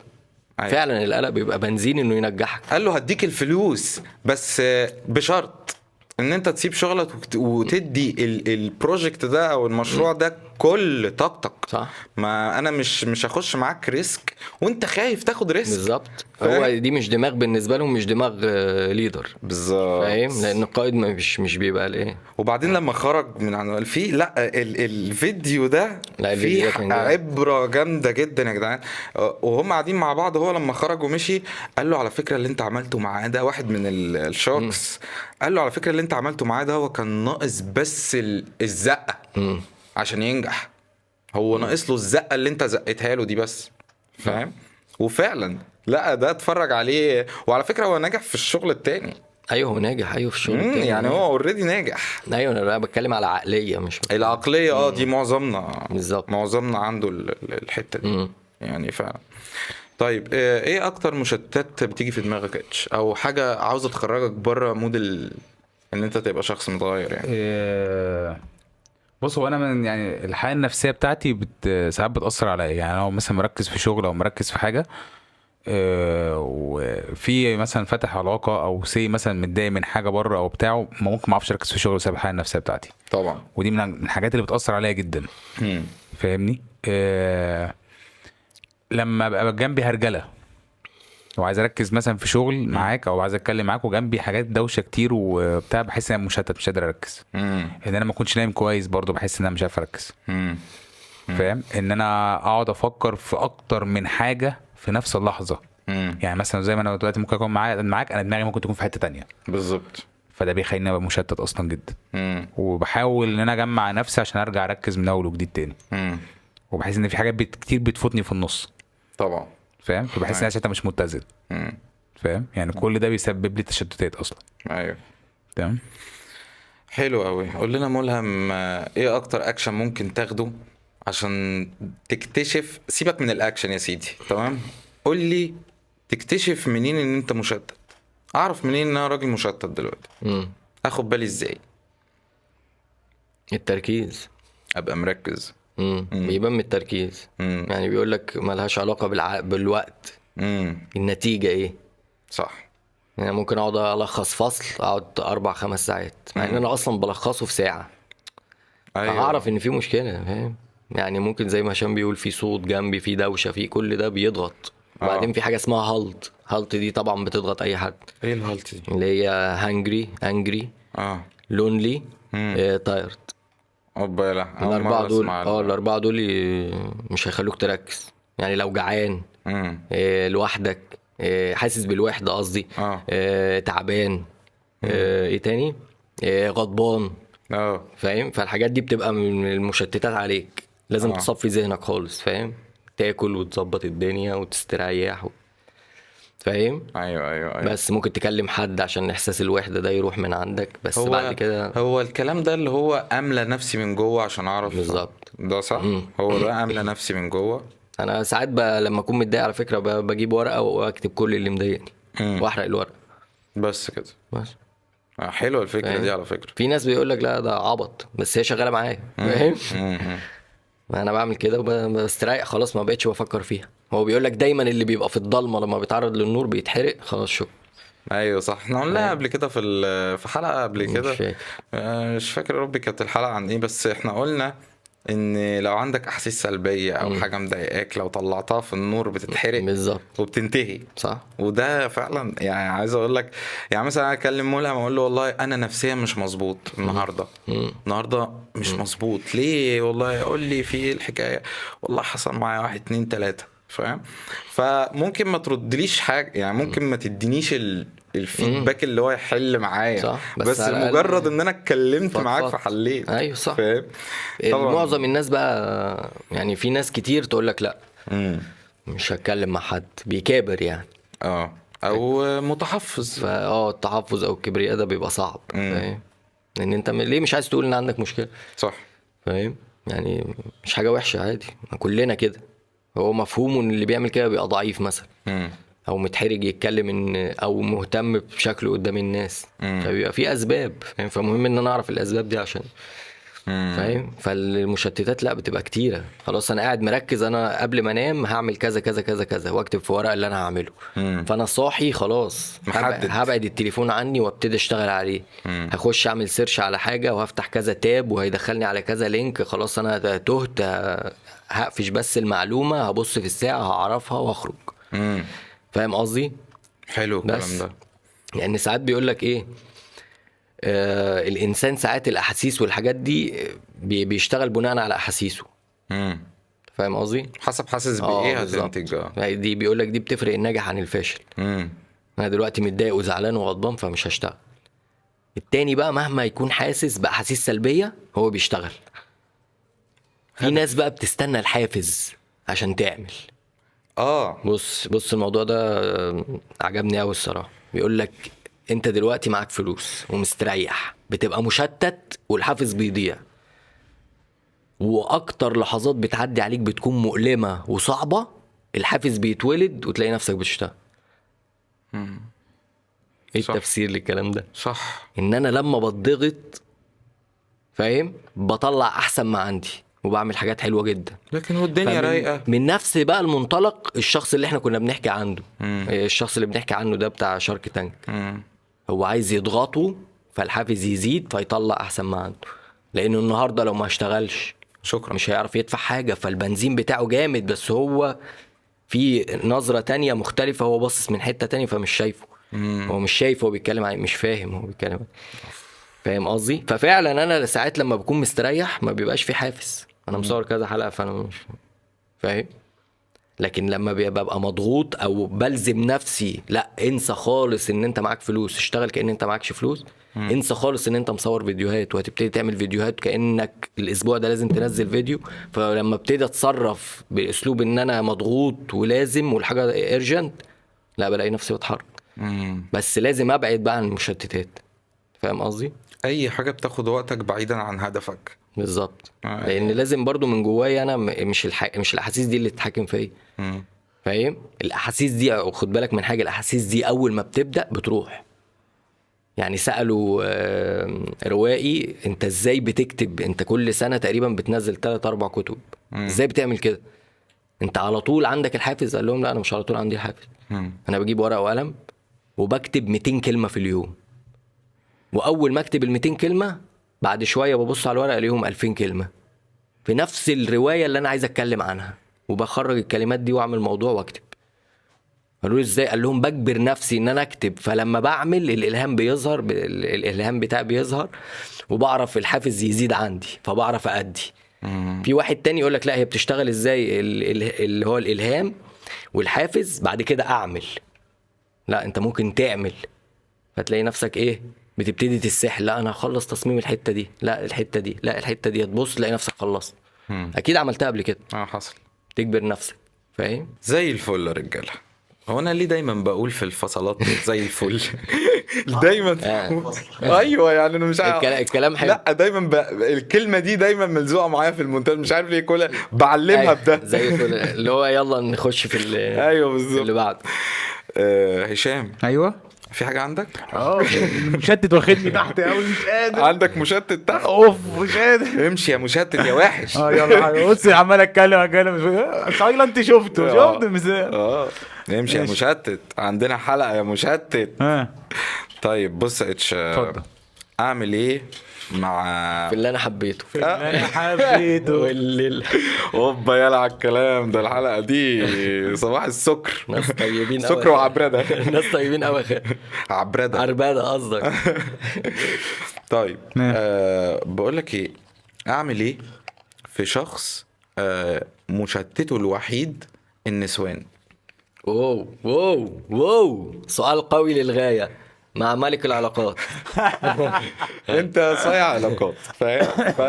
A: أيوة.
C: فعلا القلق بيبقى بنزين انه ينجحك
A: قال له هديك الفلوس بس آه، بشرط ان انت تسيب شغلك وت- وتدي ال- البروجكت ده او المشروع ده كل طاقتك
C: صح
A: ما انا مش مش هخش معاك ريسك وانت خايف تاخد ريسك
C: بالظبط
A: فاهم؟
C: هو دي مش دماغ بالنسبه لهم مش دماغ آه، ليدر
A: بالظبط
C: فاهم لان القائد مش مش بيبقى إيه. الايه
A: وبعدين لما خرج من عن في لا ال الفيديو ده
C: لا، الفيديو
A: فيه
C: ده كان جامد.
A: عبره جامده جدا يا جدعان أه، وهم قاعدين مع بعض هو لما خرج ومشي قال له على فكره اللي انت عملته معاه ده واحد من ال- الشاركس قال له على فكره اللي انت عملته معاه ده هو كان ناقص بس ال- الزقه
C: مم.
A: عشان ينجح هو ناقص له الزقه اللي انت زقتها له دي بس فاهم وفعلا لا ده اتفرج عليه وعلى فكره هو نجح في الشغل التاني
C: ايوه هو ناجح ايوه في الشغل
A: مم،
C: بتاعه.
A: يعني هو اوريدي ناجح
C: ايوه انا بقى بتكلم على عقليه مش
A: العقليه اه دي معظمنا
C: بالظبط.
A: معظمنا عنده ال- ال- الحته دي
C: مم.
A: يعني فعلا طيب آه، ايه اكتر مشتتات بتيجي في دماغك اتش او حاجه عاوزه تخرجك بره مود ال... ان انت تبقى شخص متغير يعني
B: آه، بص هو انا من يعني الحاله النفسيه بتاعتي بت ساعات بتاثر عليا يعني انا لو مثلا مركز في شغل او مركز في حاجه آه، وفي مثلا فتح علاقه او سي مثلا متضايق من حاجه بره او بتاعه ممكن ما اعرفش اركز في شغل بسبب الحاله النفسيه بتاعتي
A: طبعا
B: ودي من الحاجات اللي بتاثر عليا جدا
A: مم.
B: فاهمني آه لما ابقى جنبي هرجله وعايز اركز مثلا في شغل معاك او عايز اتكلم معاك وجنبي حاجات دوشه كتير وبتاع بحس ان انا مشتت مش قادر اركز
A: مم.
B: ان انا ما اكونش نايم كويس برضو بحس ان انا مش عارف اركز
A: مم.
B: فاهم ان انا اقعد افكر في اكتر من حاجه في نفس اللحظه
A: مم.
B: يعني مثلا زي ما انا دلوقتي ممكن اكون معاك معاك انا دماغي ممكن تكون في حته تانية
A: بالظبط
B: فده بيخليني ابقى مشتت اصلا جدا
A: مم.
B: وبحاول ان انا اجمع نفسي عشان ارجع اركز من اول وجديد تاني
A: مم.
B: وبحس ان في حاجات بت... كتير بتفوتني في النص
A: طبعا
B: فاهم فبحس
D: أيوة.
B: ان انا شتى مش متزن
A: مم.
B: فاهم يعني كل ده بيسبب لي تشتتات اصلا
A: ايوه
B: تمام
A: حلو قوي قول لنا ملهم آه، ايه اكتر اكشن ممكن تاخده عشان تكتشف سيبك من الاكشن يا سيدي تمام قول لي تكتشف منين ان انت مشتت اعرف منين ان انا راجل مشتت دلوقتي
C: مم.
A: اخد بالي ازاي
C: التركيز
A: ابقى مركز
C: مم. بيبان من التركيز
A: امم
C: يعني بيقول لك ملهاش علاقه بالع... بالوقت
A: امم
C: النتيجه ايه
A: صح
C: يعني ممكن اقعد الخص فصل اقعد اربع خمس ساعات مع ان انا اصلا بلخصه في ساعه
A: أيوه.
C: أيوة. اعرف ان في مشكله فاهم يعني ممكن زي ما هشام بيقول في صوت جنبي في دوشه في كل ده بيضغط
A: آه.
C: وبعدين في حاجه اسمها هالت هالت دي طبعا بتضغط اي حد
A: ايه الغلطه دي
C: اللي هي هانجري انجري
A: اه
C: لونلي
A: مم.
C: تايرد
A: اوبا لا أول مرة
C: الاربعه آه، دول
A: أسمع
C: اه
A: ال-
C: الاربعه دول ي- مش هيخلوك تركز يعني لو جعان
A: مم.
C: آه، لوحدك آه، حاسس بالوحده قصدي
A: اه
C: آه، تعبان آه، ايه تاني آه، غضبان
A: اه
C: فاهم فالحاجات دي بتبقى من المشتتات عليك لازم
A: آه.
C: تصفي ذهنك خالص فاهم تاكل وتظبط الدنيا وتستريح و... فاهم
A: ايوه ايوه ايوه
C: بس ممكن تكلم حد عشان احساس الوحده ده يروح من عندك بس بعد كده
A: هو الكلام ده اللي هو املى نفسي من جوه عشان اعرف
C: بالظبط.
A: ده صح
C: مم.
A: هو ده املى نفسي من جوه
C: انا ساعات ب... لما اكون متضايق على فكره ب... بجيب ورقه واكتب كل اللي مضايقني
A: مم.
C: واحرق الورقه
A: بس كده
C: بس
A: آه، حلوه الفكره
C: فاهم.
A: دي على فكره
C: في ناس بيقول لك لا ده عبط بس هي شغاله معايا فاهم
A: مم.
C: انا بعمل كده وب- بستريح خلاص ما بقتش بفكر فيها هو بيقول لك دايما اللي بيبقى في الضلمه لما بيتعرض للنور بيتحرق خلاص شكرا
A: ايوه صح احنا قلناها قبل كده في ال- في حلقه قبل كده
C: مش فاكر.
A: آه، مش فاكر يا ربي كانت الحلقه عن ايه بس احنا قلنا ان لو عندك احاسيس سلبيه او
C: مم.
A: حاجه مضايقاك لو طلعتها في النور بتتحرق
C: بالظبط
A: وبتنتهي
C: صح
A: وده فعلا يعني عايز اقول لك يعني مثلا انا اكلم ملهم اقول له والله انا نفسيا مش مظبوط النهارده
C: مم.
A: النهارده مش مظبوط ليه والله قول لي في ايه الحكايه والله حصل معايا واحد اتنين تلاته فاهم فممكن ما تردليش حاجه يعني ممكن ما تدينيش ال- الفيدباك اللي هو يحل معايا
C: صح،
A: بس,
C: بس
A: بس
C: على الأقل
A: مجرد ان انا اتكلمت
C: فضفضت.
A: معاك فحليت
C: أيوة، صح.
A: فاهم طبعاً.
C: معظم الناس بقى يعني في ناس كتير تقول لك لا
A: مم.
C: مش هتكلم مع حد بيكابر يعني
A: اه
C: أيوة.
A: او متحفظ
C: فا اه التحفظ او الكبرياء ده بيبقى صعب
A: مم.
C: فاهم لان انت م- ليه مش عايز تقول ان عندك مشكله
A: صح
C: فاهم يعني مش حاجه وحشه عادي ما كلنا كده هو مفهومه ان اللي بيعمل كده بيبقى ضعيف مثلا
A: مم.
C: او متحرج يتكلم ان او مهتم بشكله قدام الناس
A: مم.
C: فبيبقى في اسباب فاهم فمهم ان انا اعرف الاسباب دي عشان
A: مم.
C: فاهم فالمشتتات لا بتبقى كتيره خلاص انا قاعد مركز انا قبل ما انام هعمل كذا كذا كذا كذا واكتب في ورقه اللي انا هعمله
A: مم.
C: فانا صاحي خلاص هبعد-
A: محدد.
C: هبعد التليفون عني وابتدي اشتغل عليه
A: مم.
C: هخش اعمل سيرش على حاجه وهفتح كذا تاب وهيدخلني على كذا لينك خلاص انا تهت هقفش بس المعلومه هبص في الساعه هعرفها واخرج
A: مم.
C: فاهم قصدي
A: حلو الكلام
C: بس.
A: ده
C: يعني ساعات بيقول لك ايه آه الانسان ساعات الاحاسيس والحاجات دي بي- بيشتغل بناء على احاسيسه
A: مم.
C: فاهم قصدي
A: حسب حاسس
C: آه،
A: بايه
C: بالظبط.
A: هتنتج اه
C: يعني دي بيقول لك دي بتفرق الناجح عن الفاشل
A: مم.
C: انا دلوقتي متضايق وزعلان وغضبان فمش هشتغل التاني بقى مهما يكون حاسس باحاسيس سلبيه هو بيشتغل في ناس بقى بتستنى الحافز عشان تعمل
A: اه
C: بص بص الموضوع ده آه، عجبني قوي الصراحه بيقول لك انت دلوقتي معاك فلوس ومستريح بتبقى مشتت والحافز بيضيع واكتر لحظات بتعدي عليك بتكون مؤلمه وصعبه الحافز بيتولد وتلاقي نفسك بتشتغل ايه
A: صح.
C: التفسير للكلام ده
A: صح
C: ان انا لما بتضغط فاهم بطلع احسن ما عندي وبعمل حاجات حلوه جدا
A: لكن والدنيا
C: فمن-
A: رايقه
C: من نفس بقى المنطلق الشخص اللي احنا كنا بنحكي عنه
A: مم.
C: الشخص اللي بنحكي عنه ده بتاع شارك تانك
A: مم.
C: هو عايز يضغطه فالحافز يزيد فيطلع احسن ما عنده لانه النهارده لو ما اشتغلش
A: شكرا
C: مش هيعرف يدفع حاجه فالبنزين بتاعه جامد بس هو في نظره تانية مختلفه هو باصص من حته تانية فمش شايفه
A: مم.
C: هو مش شايف هو بيتكلم عن مش فاهم هو بيتكلم عن فاهم قصدي ففعلا انا ساعات لما بكون مستريح ما بيبقاش في حافز انا مصور كذا حلقه فانا مش فاهم لكن لما بيبقى- ببقى مضغوط او بلزم نفسي لا انسى خالص ان انت معاك فلوس اشتغل كان انت معكش فلوس انسى خالص ان انت مصور فيديوهات وهتبتدي تعمل فيديوهات كانك الاسبوع ده لازم تنزل فيديو فلما ابتدي اتصرف باسلوب ان انا مضغوط ولازم والحاجه ارجنت لا بلاقي نفسي بتحرك
A: مم.
C: بس لازم ابعد بقى عن المشتتات فاهم قصدي
A: اي حاجه بتاخد وقتك بعيدا عن هدفك
C: بالظبط
A: آه.
C: لان لازم برضو من جوايا انا م- مش الح... مش الاحاسيس دي اللي تتحكم فيا
A: مم.
C: فاهم الاحاسيس دي خد بالك من حاجه الاحاسيس دي اول ما بتبدا بتروح يعني سالوا آه، روائي انت ازاي بتكتب انت كل سنه تقريبا بتنزل 3 4 كتب
A: مم.
C: ازاي بتعمل كده انت على طول عندك الحافز قال لهم لا انا مش على طول عندي الحافز
A: مم.
C: انا بجيب ورقه وقلم وبكتب 200 كلمه في اليوم واول ما اكتب ال 200 كلمه بعد شويه ببص على الورقه الاقيهم 2000 كلمه في نفس الروايه اللي انا عايز اتكلم عنها وبخرج الكلمات دي واعمل موضوع واكتب قالوا لي ازاي قال لهم بجبر نفسي ان انا اكتب فلما بعمل الالهام بيظهر ب- ال- الالهام بتاعي بيظهر وبعرف الحافز يزيد عندي فبعرف ادي
A: مم.
C: في واحد تاني يقول لك لا هي بتشتغل ازاي ال- ال- اللي هو الالهام والحافز بعد كده اعمل لا انت ممكن تعمل فتلاقي نفسك ايه بتبتدي تسحل لا انا هخلص تصميم الحته دي لا الحته دي لا الحته دي تبص تلاقي نفسك خلصت
A: مم.
C: اكيد عملتها قبل كده
A: اه حصل
C: تجبر نفسك فاهم
A: زي الفل يا رجاله هو انا ليه دايما بقول في الفصلات زي الفل دايما ايوه يعني انا مش عارف
C: الكلام- الكلام حلو.
A: لا دايما ب... الكلمه دي دايما ملزوقه معايا في المونتاج مش عارف ليه كل بعلمها بده
C: أيوه، زي الفل. اللي هو يلا نخش في ال-
A: ايوه
C: اللي
A: بالظبط
C: بعده
A: آه، هشام
B: ايوه
A: في حاجه عندك
D: اه أيوة. مشتت واخدني تحت قوي مش قادر
A: عندك مشتت تحت
D: اوف مش قادر
A: امشي يا مشتت يا وحش
B: آه.
D: اه يلا حبيبي. بص عمال اتكلم اتكلم سايلنت شفته
A: آه.
D: شفت مش-
A: اه امشي يا
B: ماشي.
A: مشتت عندنا حلقه يا مشتت
B: ها
A: طيب بص يا اتش
B: اتفضل.
A: اعمل ايه مع
C: في اللي انا حبيته
A: آه.
B: انا حبيته
C: والليل
A: اوبا يلا على الكلام ده الحلقه دي صباح السكر
C: ناس طيبين أوي.
A: سكر وعبرده
C: ناس طيبين قوي
A: عبرده
C: عرباده قصدك
A: طيب
B: نعم.
A: آه بقول لك ايه اعمل ايه في شخص آه مشتته الوحيد النسوان
C: واو واو واو سؤال قوي للغايه مع ملك العلاقات
A: انت صايع علاقات فاهم ف...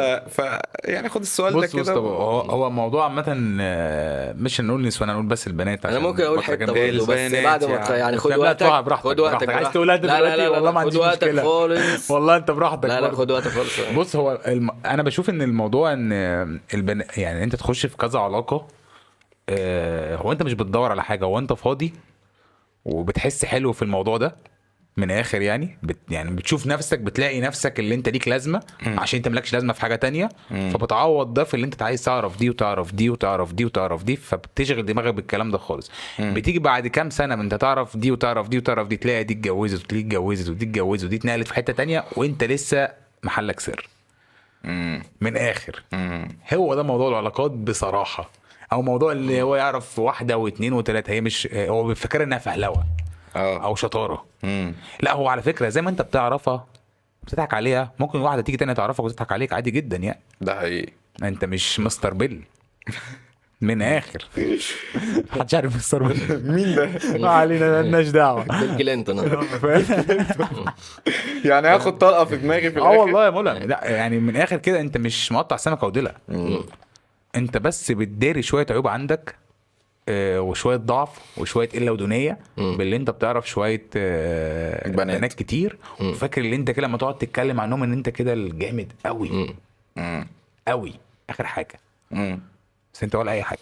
A: ف... يعني خد السؤال ده
B: بص بص طب
A: كده
B: هو هو موضوع عامة آه، مش هنقول نسوان هنقول بس البنات
C: انا
B: عشان
C: ممكن اقول
B: بكرة
C: حته
B: جنب-
A: برضه.
C: برضه بس
A: البنات
C: بعد ما
A: يعني.
C: تخ- يعني خد
B: لا،
C: وقتك
B: تقع براحتك،
C: خد
B: براحتك.
C: وقتك براحتك.
B: عايز تقولها
C: لا، لا،
B: دلوقتي؟
C: لا، لا،
B: والله ما
C: خد
B: عنديش
C: وقتك
B: مشكلة.
C: خالص
B: والله انت براحتك
C: لا لا
B: برضه.
C: خد وقتك خالص
B: بص هو الم... انا بشوف ان الموضوع ان البن... يعني انت تخش في كذا علاقه آه، هو انت مش بتدور على حاجه هو انت فاضي وبتحس حلو في الموضوع ده من الاخر يعني بت... يعني بتشوف نفسك بتلاقي نفسك اللي انت ليك لازمه عشان انت مالكش لازمه في حاجه تانية فبتعوض ده في اللي انت عايز تعرف دي وتعرف دي وتعرف دي وتعرف دي فبتشغل دماغك بالكلام ده خالص بتيجي بعد كام سنه من انت تعرف دي وتعرف دي وتعرف دي تلاقي دي اتجوزت ودي اتجوزت ودي اتجوزت ودي اتنقلت في حته تانية وانت لسه محلك سر من اخر هو ده موضوع العلاقات بصراحه او موضوع اللي هو يعرف واحده واثنين وثلاثه هي مش هو بيفكر انها فهلوه
A: اه
B: او شطاره
A: مم.
B: لا هو على فكره زي ما انت بتعرفها بتضحك عليها ممكن واحده تيجي تانية تعرفك وتضحك عليك عادي جدا يعني
A: ده حقيقي
B: انت مش مستر بيل من اخر محدش عارف مستر بيل
A: مين ده؟
B: ما علينا مالناش دعوه
C: بيل كلينتون آه.
A: يعني هاخد طلقه في دماغي في
B: اه
A: الاخر
B: والله يا مولى لا يعني من الاخر كده انت مش مقطع سمكه وديلها انت بس بتداري شويه عيوب عندك آه، وشويه ضعف وشويه قله ودونيه باللي انت بتعرف شويه آه،
A: بنات.
B: بنات كتير وفاكر اللي انت كده لما تقعد تتكلم عنهم ان انت كده الجامد قوي قوي اخر حاجه
A: مم.
B: بس انت ولا اي حاجه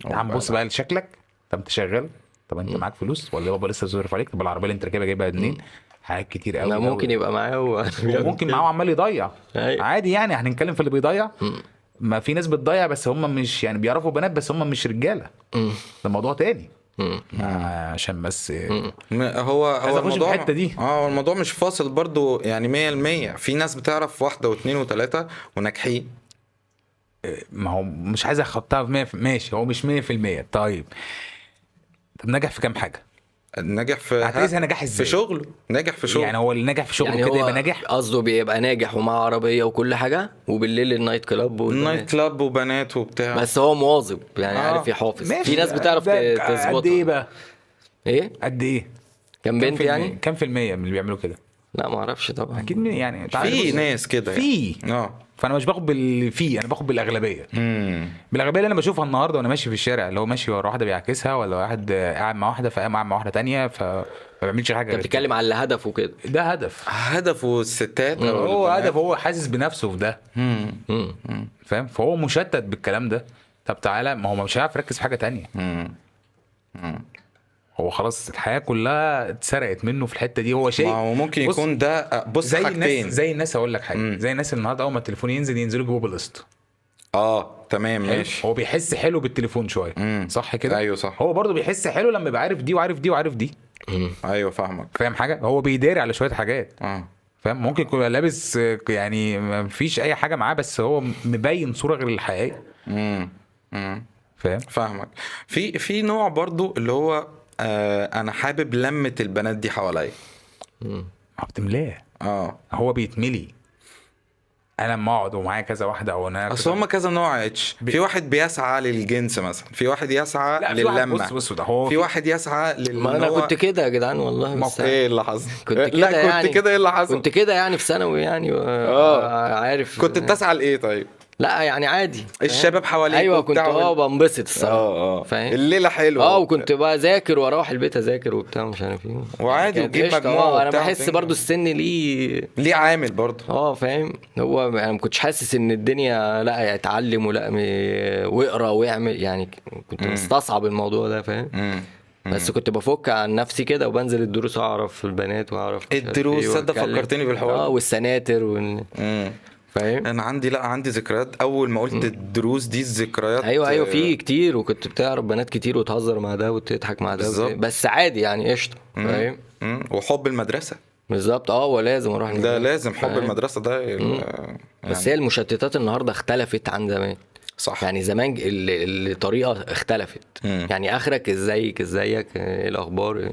B: تعال بص بقى لشكلك طب انت شغال طب انت معاك فلوس ولا بابا لسه صرف عليك طب العربيه اللي انت راكبها جايبها منين حاجات كتير قوي
C: لا
B: قوي.
C: ممكن يبقى معاه و...
B: وممكن معاه عمال يضيع
C: أيوة.
B: عادي يعني احنا هنتكلم في اللي بيضيع ما في ناس بتضيع بس هم مش يعني بيعرفوا بنات بس هم مش رجاله ده موضوع تاني آه، عشان بس
A: م- هو هو
B: أخش في
A: الموضوع
B: الحتة دي.
A: اه هو الموضوع مش فاصل برضو يعني 100% في ناس بتعرف واحده واثنين وثلاثه وناجحين
B: ما هو مش عايز احطها في 100% ماشي هو مش 100% طيب طب نجح في كام حاجه؟
A: ناجح في
B: هتقيسها نجاح ازاي؟
A: في شغله ناجح في شغله
B: يعني هو اللي نجح في شغله
C: يعني
B: كده
C: هو
B: يبقى ناجح
C: قصده بيبقى ناجح ومعاه عربيه وكل حاجه وبالليل النايت كلاب
A: نايت
C: والبنات.
A: كلاب وبنات وبتاع
C: بس هو مواظب يعني
A: آه.
C: عارف يحافظ في ناس بتعرف
B: ده
C: ت-
B: قد ايه
C: تظبطها
B: بقى؟
C: ايه
B: قد ايه؟ كام
C: كان بنت
B: في المية؟
C: يعني
B: كام في المية من اللي بيعملوا كده؟
C: لا ما اعرفش طبعا
B: اكيد من- يعني أنت عارف-
A: في ناس كده
B: في
A: يعني. اه
B: فانا مش باخد باللي فيه انا باخد بالاغلبيه
A: امم
B: بالاغلبيه اللي انا بشوفها النهارده وانا ماشي في الشارع اللي هو ماشي ورا واحده بيعكسها ولا واحد آه، قاعد مع واحده فقام قاعد مع واحده تانية فما بيعملش حاجه
C: انت
B: غير كده.
C: بتتكلم على اللي هدفه كده
B: ده هدف
A: هدفه الستات أو
B: هو
A: البنات.
B: هدف هو حاسس بنفسه في ده
A: مم.
C: مم.
B: فاهم فهو مشتت بالكلام ده طب تعالى ما هو مش هيعرف يركز في حاجه تانية
A: مم.
B: هو خلاص الحياه كلها اتسرقت منه في الحته دي هو شيء
A: ما هو ممكن
B: بص،
A: يكون ده آه، بص
B: زي
A: حاجتين
B: الناس زي الناس اقول لك حاجه زي الناس النهارده اول ما التليفون ينزل ينزلوا يجيبوا بلست
A: اه تمام ماشي
B: هو بيحس حلو بالتليفون شويه
A: مم.
B: صح كده
A: أيوة صح.
B: هو برضه بيحس حلو لما يبقى عارف دي وعارف دي وعارف دي
A: ايوه فاهمك
B: فاهم حاجه هو بيداري على شويه حاجات
A: اه
B: فاهم ممكن يكون لابس آه، يعني ما فيش اي حاجه معاه بس هو مبين صوره غير الحقيقيه
A: امم امم
B: فاهم
A: فاهمك في في نوع برضو اللي هو آه انا حابب لمة البنات دي حواليا
B: ما بتملاه
A: اه
B: هو بيتملي انا لما اقعد ومعايا كذا واحده او انا
A: اصل
B: كذا-
A: هما كذا نوع يا اتش في واحد بيسعى للجنس مثلا في واحد يسعى
B: لا في واحد
A: للمة
B: بص بص ده هو
A: في واحد يسعى لل
C: ما انا
A: إن هو-
C: كنت كده يا جدعان والله بس
A: ايه اللي حصل
C: كنت
A: لا،
C: كده
A: كنت
C: يعني
A: كده ايه اللي حصل
C: كنت كده يعني في ثانوي يعني
A: آه.
C: اه عارف
A: كنت بتسعى لايه طيب
C: لا يعني عادي
A: الشباب حواليك
C: ايوه كنت
A: وبتاع
C: اه
A: وال-
C: بنبسط الصراحه
A: اه اه
C: آه، فاهم
A: الليله حلوه
C: اه وكنت بذاكر واروح البيت اذاكر وبتاع مش عارف ايه
A: وعادي
C: كانت
A: وتجيب
C: قشطة،
A: مجموعة
C: آه، انا
A: وبتاع
C: بحس
A: وتنجح.
C: برضو السن ليه
A: ليه عامل برضه
C: اه فاهم هو انا ما كنتش حاسس ان الدنيا لا اتعلم ولا م- واقرا واعمل يعني كنت مستصعب الموضوع ده فاهم
A: مم.
C: بس كنت بفك عن نفسي كده وبنزل الدروس اعرف البنات واعرف مش عارف
A: الدروس،
C: إيه
A: تصدق
C: وأتكلم.
A: فكرتني بالحوار ده.
C: اه والسناتر وال...
A: مم.
C: فاهم
A: انا عندي لا عندي ذكريات اول ما قلت الدروس دي الذكريات
C: ايوه ايوه في
A: آه،
C: كتير وكنت بتعرف بنات كتير وتهزر مع ده وتضحك مع ده
A: بالظبط.
C: بس عادي يعني قشطه فاهم
A: مم، وحب المدرسه
C: بالظبط اه ولازم اروح
A: ده
C: المدرسة.
A: لازم حب
C: فاهم؟
A: المدرسه ده ال-
C: بس هي المشتتات النهارده اختلفت عن زمان
A: صح
C: يعني زمان ج- ال- ال- الطريقه اختلفت
A: مم.
C: يعني اخرك ازيك ازيك إيه الاخبار إيه.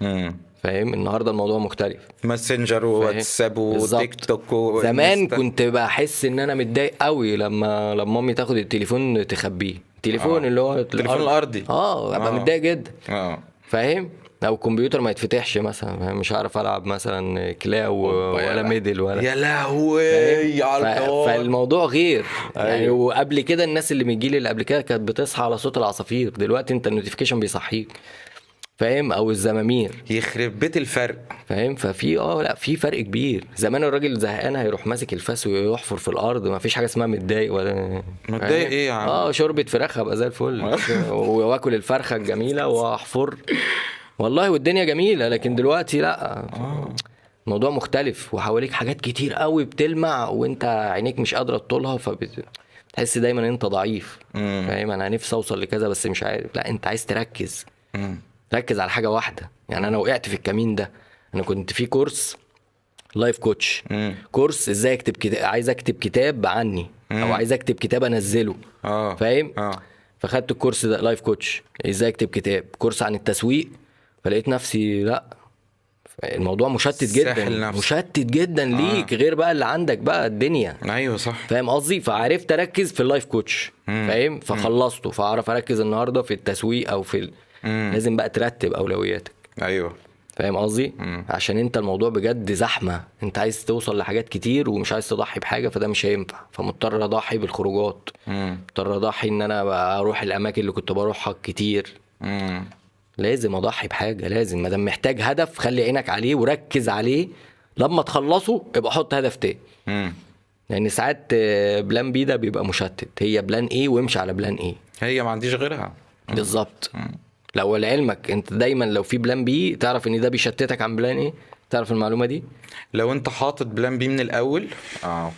A: مم.
C: فاهم النهارده الموضوع مختلف
A: ماسنجر وواتساب
C: بالظبط.
A: وتيك توك و-
C: زمان
A: وإنستا.
C: كنت بحس ان انا متضايق قوي لما لما امي تاخد التليفون تخبيه التليفون
A: آه.
C: اللي هو
A: التليفون الارضي
C: اه ابقى
A: آه.
C: متضايق جدا
A: اه
C: فاهم او الكمبيوتر ما يتفتحش مثلا فاهم؟ مش هعرف العب مثلا كلاو ولا ميدل ولا
A: يا لهوي
C: ف-
A: على الحوار
C: فالموضوع غير يعني
A: أيوة.
C: وقبل كده الناس اللي من الجيل اللي قبل كده كانت بتصحى على صوت العصافير دلوقتي انت النوتيفيكيشن بيصحيك فاهم او الزمامير
A: يخرب بيت الفرق
C: فاهم ففي اه لا في فرق كبير زمان الراجل زهقان هيروح ماسك الفاس ويحفر في الارض ما فيش حاجه اسمها متضايق ولا
A: متضايق
C: فاهم؟
A: إيه يا عم؟
C: اه شوربه فراخ ابقى زي الفل واكل الفرخه الجميله واحفر والله والدنيا جميله لكن دلوقتي لا
A: آه.
C: الموضوع مختلف وحواليك حاجات كتير قوي بتلمع وانت عينيك مش قادره تطولها فبتحس دايما انت ضعيف
A: مم.
C: فاهم انا نفسي اوصل لكذا بس مش عارف لا انت عايز تركز
A: مم.
C: ركز على حاجه واحده يعني انا وقعت في الكمين ده انا كنت في كورس لايف كوتش
A: مم.
C: كورس ازاي اكتب كتاب عايز اكتب كتاب عني او عايز اكتب كتاب انزله
A: اه
C: فاهم
A: اه
C: فخدت الكورس ده لايف كوتش ازاي اكتب كتاب كورس عن التسويق فلقيت نفسي لا الموضوع مشتت
A: ساحل
C: جدا
A: نفسك.
C: مشتت جدا ليك غير بقى اللي عندك بقى الدنيا
A: ايوه صح
C: فاهم قصدي فعرفت اركز في اللايف كوتش فاهم فخلصته فاعرف اركز النهارده في التسويق او في ال... لازم بقى ترتب اولوياتك
A: ايوه
C: فاهم قصدي عشان انت الموضوع بجد زحمه انت عايز توصل لحاجات كتير ومش عايز تضحي بحاجه فده مش هينفع فمضطر اضحي بالخروجات
A: مم.
C: مضطر اضحي ان انا بقى اروح الاماكن اللي كنت بروحها كتير
A: مم.
C: لازم اضحي بحاجه لازم ما دام محتاج هدف خلي عينك عليه وركز عليه لما تخلصه ابقى حط هدف تاني
A: مم.
C: لان ساعات آه، بلان بي ده بيبقى مشتت هي بلان ايه وامشي على بلان ايه
A: هي ما عنديش غيرها
C: بالظبط لو لعلمك انت دايما لو في بلان بي تعرف ان ده بيشتتك عن بلان ايه تعرف المعلومه دي
A: لو انت حاطط بلان بي من الاول اه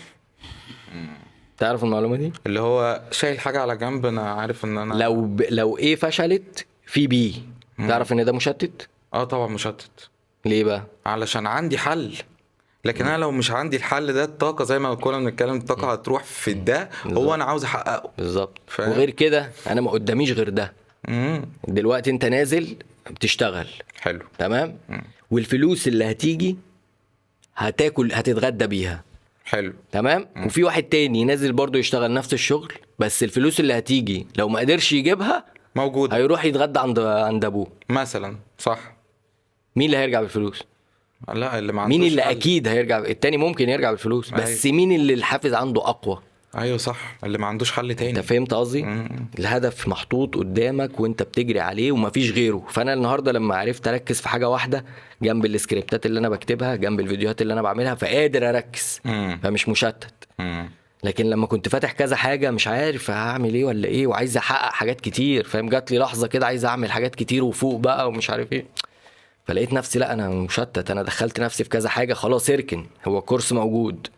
C: تعرف المعلومه دي
A: اللي هو شايل حاجه على جنب انا عارف ان انا
C: لو ب... لو ايه فشلت في بي تعرف ان ده مشتت
A: اه طبعا مشتت
C: ليه بقى
A: علشان عندي حل لكن انا لو مش عندي الحل ده الطاقه زي ما كنا بنتكلم الطاقه هتروح في ده هو انا عاوز احققه
C: بالظبط
A: فاهم.
C: وغير كده انا ما قداميش غير ده
A: امم
C: دلوقتي انت نازل بتشتغل
A: حلو
C: تمام والفلوس اللي هتيجي هتاكل هتتغدى بيها
A: حلو
C: تمام وفي واحد تاني نازل برضه يشتغل نفس الشغل بس الفلوس اللي هتيجي لو ما قدرش يجيبها
A: موجود
C: هيروح يتغدى عند عند ابوه
A: مثلا صح
C: مين اللي هيرجع بالفلوس
A: لا اللي ما عندوش
C: مين اللي
A: حل.
C: اكيد هيرجع التاني ممكن يرجع بالفلوس بس مين اللي الحافز عنده اقوى
A: ايوه صح اللي ما عندوش حل
C: انت
A: تاني
C: فهمت قصدي الهدف محطوط قدامك وانت بتجري عليه ومفيش غيره فانا النهارده لما عرفت اركز في حاجه واحده جنب السكريبتات اللي انا بكتبها جنب الفيديوهات اللي انا بعملها فقادر اركز
A: مم.
C: فمش مشتت
A: مم.
C: لكن لما كنت فاتح كذا حاجه مش عارف هعمل ايه ولا ايه وعايز احقق حاجات كتير فاهم جات لي لحظه كده عايز اعمل حاجات كتير وفوق بقى ومش عارف ايه فلقيت نفسي لا انا مشتت انا دخلت نفسي في كذا حاجه خلاص اركن هو الكورس موجود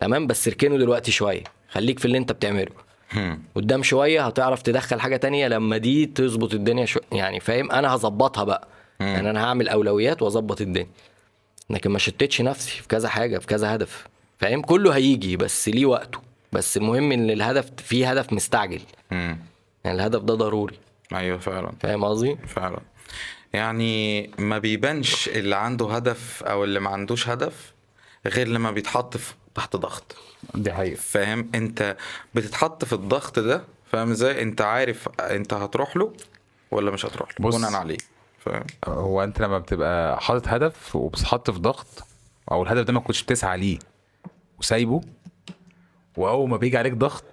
C: تمام بس اركنه دلوقتي شويه خليك في اللي انت بتعمله
A: مم.
C: قدام شويه هتعرف تدخل حاجه تانية لما دي تظبط الدنيا شو... يعني فاهم انا هظبطها بقى يعني انا هعمل اولويات واظبط الدنيا لكن ما شتتش نفسي في كذا حاجه في كذا هدف فاهم كله هيجي بس ليه وقته بس المهم ان الهدف في هدف مستعجل
A: مم.
C: يعني الهدف ده ضروري
A: ايوه فعلا
C: فاهم قصدي
A: فعلا يعني ما بيبانش اللي عنده هدف او اللي ما عندوش هدف غير لما بيتحط في تحت ضغط
B: دي حقيقة
A: فاهم انت بتتحط في الضغط ده فاهم ازاي انت عارف انت هتروح له ولا مش هتروح له
B: بص.
A: بناء عليه فاهم
B: هو انت لما بتبقى حاطط هدف وبتتحط في ضغط او الهدف ده ما كنتش بتسعى ليه وسايبه واول ما بيجي عليك ضغط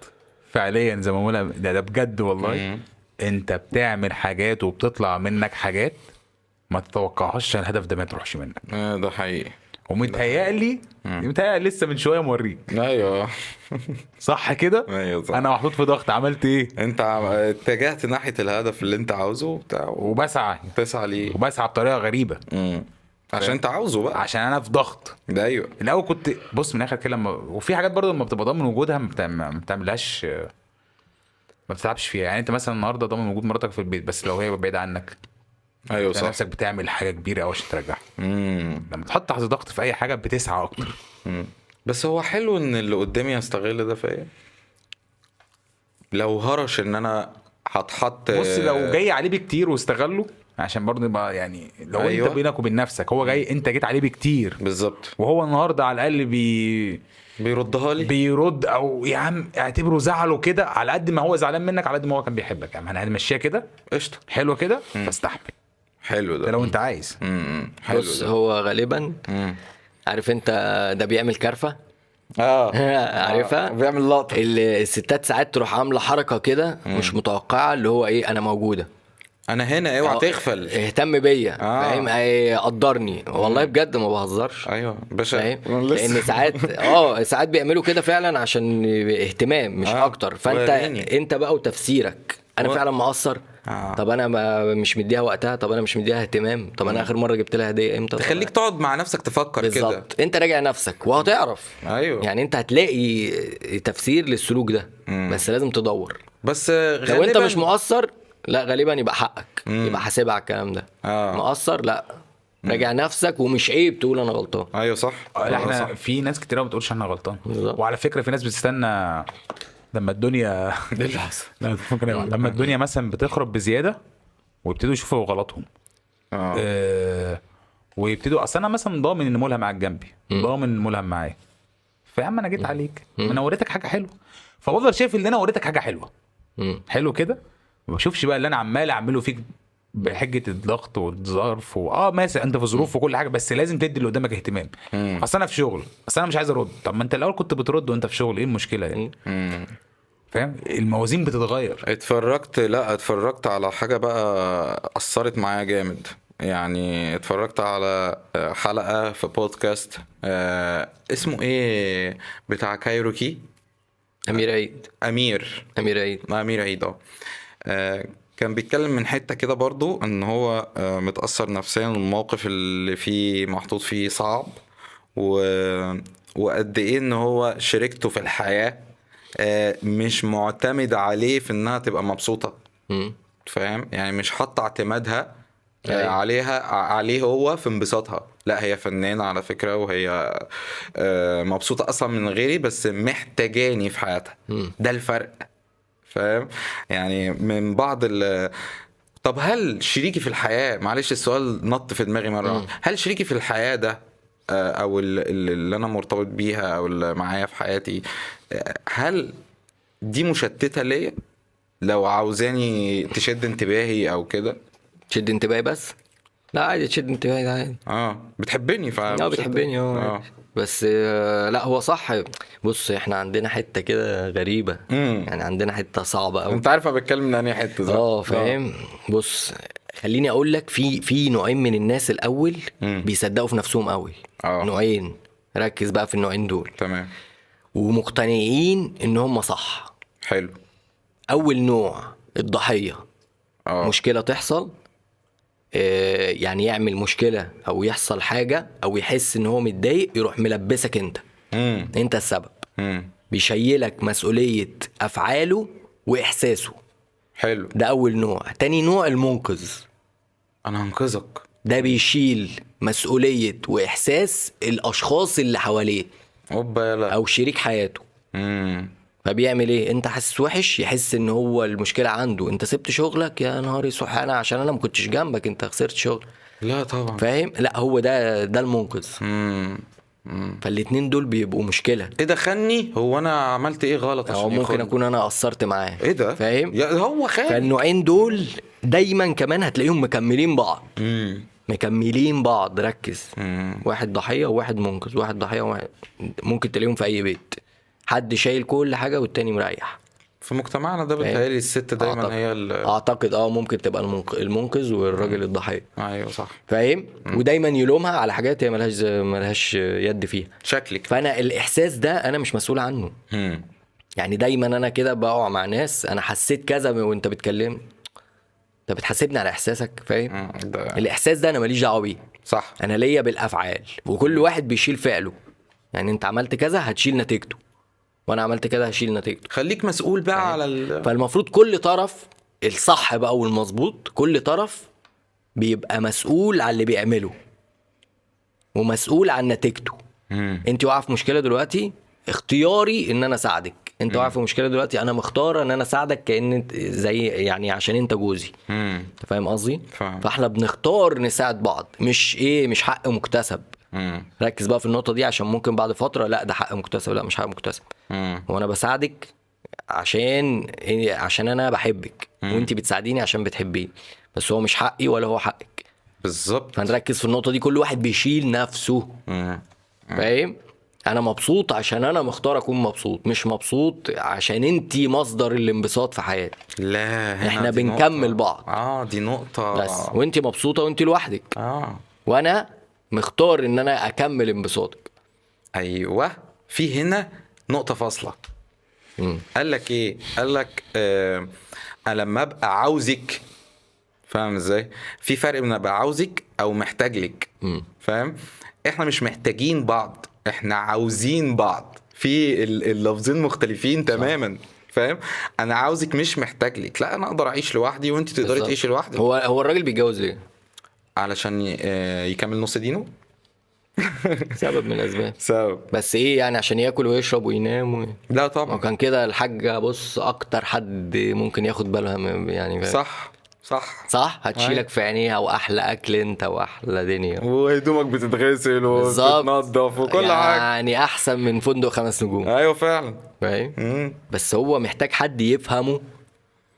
B: فعليا زي ما بقولها ده, ده بجد والله انت بتعمل حاجات وبتطلع منك حاجات ما تتوقعهاش عشان الهدف ده ما تروحش منك
A: آه، ده حقيقي
B: ومتهيألي متهيألي لسه من شويه موريك
A: ايوه
B: صح كده
A: ايوه صح.
B: انا محطوط في ضغط عملت ايه
A: انت عم- اتجهت ناحيه الهدف اللي انت عاوزه وبتاع
B: وبسعى
A: وبتسعى ليه
B: وبسعى بطريقه غريبه
A: مم. عشان انت عاوزه بقى
B: عشان انا في ضغط
A: ده ايوه
B: الاول كنت بص من الاخر كده لما وفي حاجات برضه لما بتبقى ضامن وجودها ما بتعم- ما بتعملهاش ما بتتعبش فيها يعني انت مثلا النهارده ضامن وجود مراتك في البيت بس لو هي بعيده عنك
A: ايوه
B: تلاقي
A: صح
B: نفسك بتعمل حاجه كبيره قوي عشان ترجعها
A: مم.
B: لما تحط تحت ضغط في اي حاجه بتسعى اكتر
A: مم. بس هو حلو ان اللي قدامي يستغل ده فيا لو هرش ان انا هتحط
B: بص لو جاي عليه بكتير واستغله عشان برضه يبقى يعني لو أيوة.
A: أيوة.
B: انت بينك وبين نفسك هو جاي انت جيت عليه بكتير
A: بالظبط
B: وهو النهارده على الاقل بي
A: بيردها لي
B: بيرد او يا عم اعتبره زعله كده على قد ما هو زعلان منك على قد ما هو كان بيحبك يعني انا هنمشيها كده
A: قشطه
B: حلوه كده فاستحمل
A: حلو ده
B: ده لو انت عايز
A: مم. حلو
C: بص
A: ده
C: هو غالبا
A: مم.
C: عارف انت ده بيعمل كرفه
A: اه
C: عارفها
A: آه، بيعمل لقطه
C: ال- الستات ساعات تروح عامله حركه كده مش متوقعه اللي هو ايه انا موجوده
A: انا هنا اوعى
C: أو-
A: تغفل
C: اهتم بيا
A: آه.
C: فاهم ايه، قدرني والله بجد ما بهزرش
A: ايوه باشا
C: فاهم
A: أنا لسه-
C: لان ساعات اه ساعات بيعملوا كده فعلا عشان اهتمام مش
A: آه،
C: اكتر فانت
A: وريني.
C: انت بقى وتفسيرك انا
A: و-
C: فعلا مقصر
A: آه.
C: طب انا ما مش مديها وقتها طب انا مش مديها اهتمام طب انا اخر مره جبت لها هديه امتى طب
A: تخليك تقعد مع نفسك تفكر كده
C: بالظبط انت راجع نفسك وهتعرف
A: ايوه
C: يعني انت هتلاقي تفسير للسلوك ده
A: مم.
C: بس لازم تدور
A: بس
C: لو
A: غالبا
C: انت مش مقصر لا غالبا يبقى حقك
A: مم.
C: يبقى حاسبها على الكلام ده
A: آه.
C: مقصر لا راجع نفسك ومش عيب تقول انا غلطان
A: ايوه صح
B: اه،
A: آه،
B: لا احنا
A: صح.
B: في ناس كتير ما بتقولش انا غلطان
C: بالظبط.
B: وعلى فكره في ناس بتستنى لما الدنيا لا، ممكن أيوة. لما الدنيا مثلا بتخرب بزياده ويبتدوا يشوفوا غلطهم
A: آه.
B: آه ويبتدوا اصل انا مثلا ضامن ان ملهم على جنبي ضامن ان ملهم معايا فيا عم انا جيت عليك ما انا وريتك حاجه حلوه فبفضل شايف ان انا وريتك حاجه حلوه
C: مم.
B: حلو كده ما بشوفش بقى اللي انا عمال اعمله فيك بحجه الضغط والظرف واه ماشي انت في ظروف وكل حاجه بس لازم تدي اللي قدامك اهتمام
A: مم.
B: اصل انا في شغل اصل انا مش عايز ارد طب ما انت الاول كنت بترد وانت في شغل ايه المشكله يعني
C: مم.
A: مم.
B: فاهم الموازين بتتغير
A: اتفرجت لا اتفرجت على حاجة بقى أثرت معايا جامد يعني اتفرجت على آه، حلقة في بودكاست آه، اسمه ايه بتاع كايروكي
C: امير عيد
A: أمير
C: امير عيد
A: أمير عيد اه آه، كان بيتكلم من حتة كده برضو ان هو آه، متأثر نفسيا الموقف اللي فيه محطوط فيه صعب و... وقد ايه ان هو شريكته في الحياة آه، مش معتمد عليه في انها تبقى مبسوطة
C: مم.
A: فاهم يعني مش حاطه اعتمادها آه،
C: أيوة.
A: عليها ع- عليه هو في انبساطها لا هي فنانه على فكره وهي آه، مبسوطه اصلا من غيري بس محتاجاني في حياتها
C: مم.
A: ده الفرق فاهم يعني من بعض ال طب هل شريكي في الحياه معلش السؤال نط في دماغي مره واحدة. هل شريكي في الحياه ده آه، او ال- ال- اللي انا مرتبط بيها او اللي معايا في حياتي آه، هل دي مشتته ليا لو عاوزاني تشد انتباهي او كده
C: تشد انتباهي بس لا عادي تشد انتباهي ده عادي
A: اه بتحبني ف
C: لا بتحبني اه
A: اه
C: بس آه، لا هو صح بص احنا عندنا حته كده غريبه
A: مم.
C: يعني عندنا حته صعبه قوي
A: انت عارف انا بتكلم من انهي حته صح؟ آه،
C: اه فاهم بص خليني اقول لك في في نوعين من الناس الاول
A: مم.
C: بيصدقوا في نفسهم قوي
A: آه.
C: نوعين ركز بقى في النوعين دول
A: تمام
C: ومقتنعين ان هم صح
A: حلو
C: اول نوع الضحيه
A: اه
C: مشكله تحصل آه، يعني يعمل مشكله او يحصل حاجه او يحس ان هو متضايق يروح ملبسك انت
A: امم
C: انت السبب
A: امم
C: بيشيلك مسؤوليه افعاله واحساسه
A: حلو
C: ده اول نوع تاني نوع المنقذ
A: انا هنقذك
C: ده بيشيل مسؤولية وإحساس الأشخاص اللي حواليه
A: اوبا يلا
C: أو شريك حياته
A: امم
C: فبيعمل إيه؟ أنت حاسس وحش يحس إن هو المشكلة عنده، أنت سبت شغلك يا نهاري سحانة عشان أنا ما كنتش جنبك أنت خسرت شغل،
A: لا طبعا
C: فاهم؟ لا هو ده ده المنقذ،
A: امم
C: فالاتنين دول بيبقوا مشكلة،
A: ايه ده خني هو انا عملت ايه غلط
C: أو
A: عشان
C: ممكن
A: ياخدني؟
C: أكون أنا قصرت معاه
A: ايه ده
C: فاهم؟
A: يا هو خان
C: فالنوعين دول دايما كمان هتلاقيهم مكملين بعض
A: امم
C: مكملين بعض ركز
A: مم.
C: واحد ضحيه وواحد منقذ واحد ضحيه وواحد ممكن تلاقيهم في اي بيت حد شايل كل حاجه والتاني مريح
A: في مجتمعنا ده بيتهيألي الست دايما
C: أعتقد.
A: هي ال...
C: اعتقد اه ممكن تبقى المنق- المنقذ والراجل الضحيه
A: ايوه صح
C: فاهم ودايما يلومها على حاجات هي ملهاش ملهاش يد فيها
A: شكلك
C: فانا الاحساس ده انا مش مسؤول عنه
A: امم
C: يعني دايما انا كده بقع مع ناس انا حسيت كذا وانت بتكلمني انت بتحاسبني على احساسك فاهم
A: ده
C: الاحساس ده انا ماليش دعوه بيه
A: صح
C: انا ليا بالافعال وكل واحد بيشيل فعله يعني انت عملت كذا هتشيل نتيجته وانا عملت كذا هشيل نتيجته
A: خليك مسؤول بقى على ال...
C: فالمفروض كل طرف الصح بقى والمظبوط كل طرف بيبقى مسؤول على اللي بيعمله ومسؤول عن نتيجته
A: مم.
C: انت واقعه في مشكله دلوقتي اختياري ان انا اساعدك انت واقع في مشكله دلوقتي انا مختار ان انا اساعدك كان انت- زي يعني عشان انت جوزي
A: مم.
C: انت فاهم قصدي
A: فاهم.
C: فاحنا بنختار نساعد بعض مش ايه مش حق مكتسب
A: مم.
C: ركز بقى في النقطه دي عشان ممكن بعد فتره لا ده حق مكتسب لا مش حق مكتسب
A: مم.
C: هو انا بساعدك عشان إيه- عشان انا بحبك وانت بتساعديني عشان بتحبيه بس هو مش حقي ولا هو حقك
A: بالظبط
C: فنركز في النقطه دي كل واحد بيشيل نفسه
A: مم.
C: فاهم انا مبسوط عشان انا مختار اكون مبسوط مش مبسوط عشان انت مصدر الانبساط في حياتي
A: لا هنا
C: إحنا
A: دي
C: بنكمل
A: نقطة.
C: بعض.
A: اه دي نقطة
C: بس وانت مبسوطه وانت لوحدك
A: اه
C: وانا مختار ان انا اكمل انبساطك
A: ايوه في هنا نقطة فاصلة
C: مم.
A: قال لك ايه؟ قال لك آه أنا لما ابقى عاوزك فاهم ازاي؟ في فرق بين ابقى عاوزك او محتاج لك
C: مم.
A: فاهم؟ احنا مش محتاجين بعض احنا عاوزين بعض في ال- اللفظين مختلفين تماما فاهم؟ انا عاوزك مش محتاج لك لا انا اقدر اعيش لوحدي وانت تقدري
C: بالظبط.
A: تعيشي لوحدك
C: هو هو الراجل بيتجوز ليه؟
A: علشان ي- آه، يكمل نص دينه
C: سبب من الاسباب
A: سبب
C: بس ايه يعني عشان ياكل ويشرب وينام و...
A: لا
C: ما هو
A: طبعا
C: كان كده الحاجه بص اكتر حد ممكن ياخد بالها من يعني فاهم؟
A: صح أيوة. صح
C: صح هتشيلك في عينيها واحلى اكل انت واحلى دنيا
A: وهدومك بتتغسل وبتتنضف وكل حاجه
C: يعني احسن من فندق خمس نجوم
A: ايوه فعلا
C: فاهم
A: مم.
C: بس هو محتاج حد يفهمه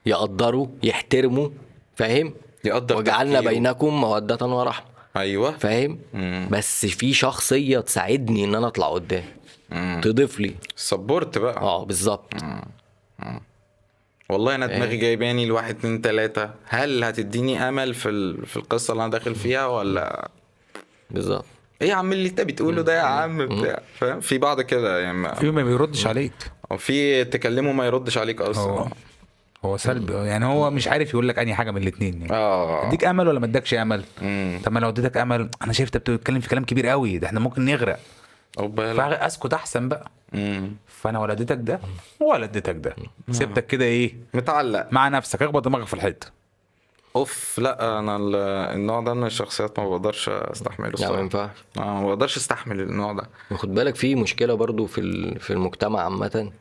C: يقدره يحترمه فاهم
A: يقدر
C: وجعلنا
A: تفكيره.
C: بينكم مودة ورحمة
A: ايوه
C: فاهم
A: مم.
C: بس في شخصية تساعدني ان انا اطلع قدام
A: مم. آه.
C: تضيف لي
A: سبورت بقى
C: اه بالظبط
A: والله انا دماغي جايباني لواحد اتنين تلاته هل هتديني امل في ال... في القصه اللي انا داخل فيها ولا
C: بالظبط
A: ايه يا عم اللي انت بتقوله ده يا عم بتاع فاهم في بعض كده يعني ما-
B: في ما بيردش عليك
A: في تكلمه ما يردش عليك اصلا
B: هو هو سلبي آه، يعني هو مش عارف يقول لك انهي حاجه من الاثنين يعني
A: اه
B: اديك امل ولا ما ادكش امل
A: مم.
B: طب ما لو اديتك امل انا شايف انت بتتكلم في كلام كبير قوي ده احنا ممكن نغرق
A: خد بالك
B: فاسكت احسن بقى
A: مم.
B: فانا ولا اديتك ده ولا اديتك ده سبتك كده ايه
A: متعلق
B: مع نفسك اخبط دماغك في الحيط
A: اوف لا انا ال- النوع ده من الشخصيات ما بقدرش استحمله
C: لا ما
A: الصراحه
C: ينفعش
A: آه، ما بقدرش استحمل النوع ده
C: خد يعني بالك في مشكلة برضو في ال- في المجتمع عامة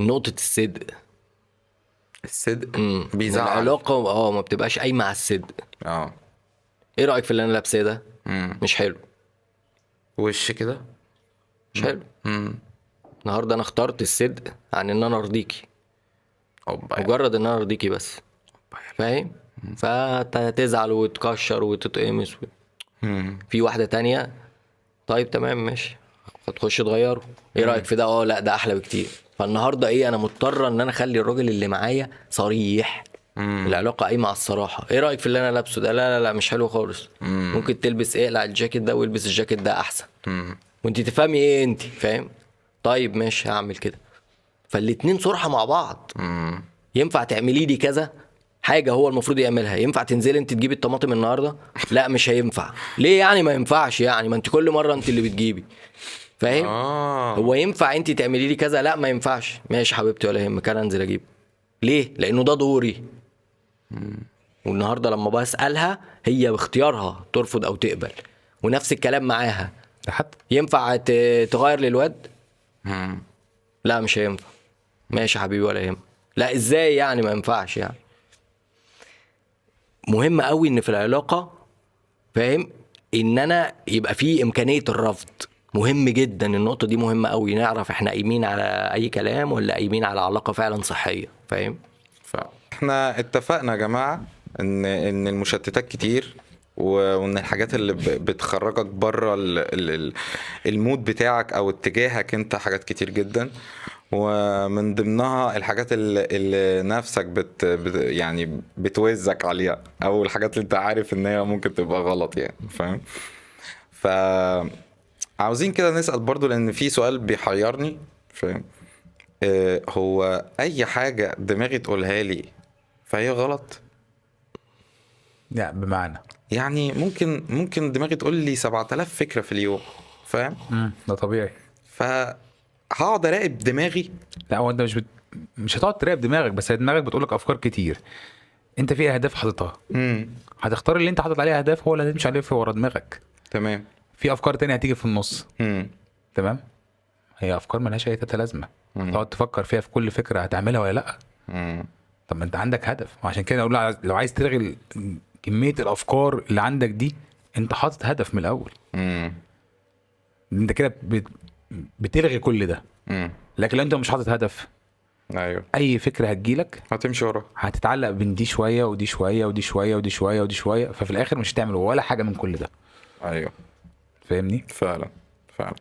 C: نقطة الصدق
A: الصدق
C: مم.
A: بيزعل
C: العلاقة اه ما بتبقاش قايمة على الصدق
A: اه
C: ايه رأيك في اللي انا لابساه ده؟
A: مم.
C: مش حلو
A: وش كده
C: مش حلو
A: مم.
C: النهارده انا اخترت الصدق عن ان انا ارضيكي
A: اوبا يلا.
C: مجرد ان انا ارضيكي بس فاهم فتزعل وتكشر وتتقمص و...
A: مم.
C: في واحده تانية طيب تمام ماشي هتخش تغيره ايه رايك في ده اه لا ده احلى بكتير فالنهارده ايه انا مضطره ان انا اخلي الراجل اللي معايا صريح
A: مم.
C: العلاقه قايمه على الصراحه ايه رايك في اللي انا لابسه ده لا لا لا مش حلو خالص
A: مم.
C: ممكن تلبس ايه لا الجاكيت ده والبس الجاكيت ده احسن
A: مم.
C: وانت تفهمي ايه انت فاهم طيب ماشي هعمل كده فالاتنين صرحه مع بعض
A: مم.
C: ينفع تعملي لي كذا حاجه هو المفروض يعملها ينفع تنزلي انت تجيبي الطماطم النهارده لا مش هينفع ليه يعني ما ينفعش يعني ما انت كل مره انت اللي بتجيبي فاهم
A: اه
C: هو ينفع انت تعملي لي كذا لا ما ينفعش ماشي حبيبتي ولا يهمك انا انزل اجيب ليه لانه ده دوري والنهارده لما بسالها هي باختيارها ترفض او تقبل ونفس الكلام معاها
B: ده حتى
C: ينفع ت- تغير للواد
A: مم.
C: لا مش هينفع ماشي يا حبيبي ولا يهمك لا ازاي يعني ما ينفعش يعني مهم قوي ان في العلاقه فاهم ان انا يبقى في امكانيه الرفض مهم جدا النقطه دي مهمه قوي نعرف احنا قايمين على اي كلام ولا قايمين على علاقه فعلا صحيه فاهم
A: فاحنا اتفقنا يا جماعه ان ان المشتتات كتير و- وان الحاجات اللي ب- بتخرجك بره ال- ال- ال- المود بتاعك او اتجاهك انت حاجات كتير جدا ومن ضمنها الحاجات اللي, اللي نفسك بت بت- يعني بتوزك عليها او الحاجات اللي انت عارف ان هي ممكن تبقى غلط يعني فاهم ف عاوزين كده نسال برضو لان في سؤال بيحيرني فاهم آه، هو اي حاجه دماغي تقولها لي فهي غلط
B: يعني بمعنى
A: يعني ممكن ممكن دماغي تقول لي 7000 فكره في اليوم فاهم
B: مم، ده طبيعي
A: فهقعد اراقب دماغي
B: لا هو انت مش بت... مش هتقعد تراقب دماغك بس هي دماغك بتقول لك افكار كتير انت في اهداف حاططها
A: امم
B: هتختار اللي انت حاطط عليه اهداف هو اللي هتمشي عليه في ورا دماغك
A: تمام
B: في افكار تانية هتيجي في النص
A: امم
B: تمام هي افكار ملهاش اي تاتا لازمه
A: مم.
B: تقعد تفكر فيها في كل فكره هتعملها ولا لا
A: امم
B: طب ما انت عندك هدف وعشان كده اقول لك لو عايز تلغي ال- كميه الافكار اللي عندك دي انت حاطط هدف من الاول
A: امم
B: انت كده بت... بتلغي كل ده
A: امم
B: لكن لو انت مش حاطط هدف
A: ايوه
B: اي فكره هتجيلك
A: هتمشي وراه
B: هتتعلق بين دي شويه ودي شويه ودي شويه ودي شويه ودي شويه ففي الاخر مش هتعمل ولا حاجه من كل ده أيوه.
A: ايوه
B: فاهمني
A: فعلا فعلا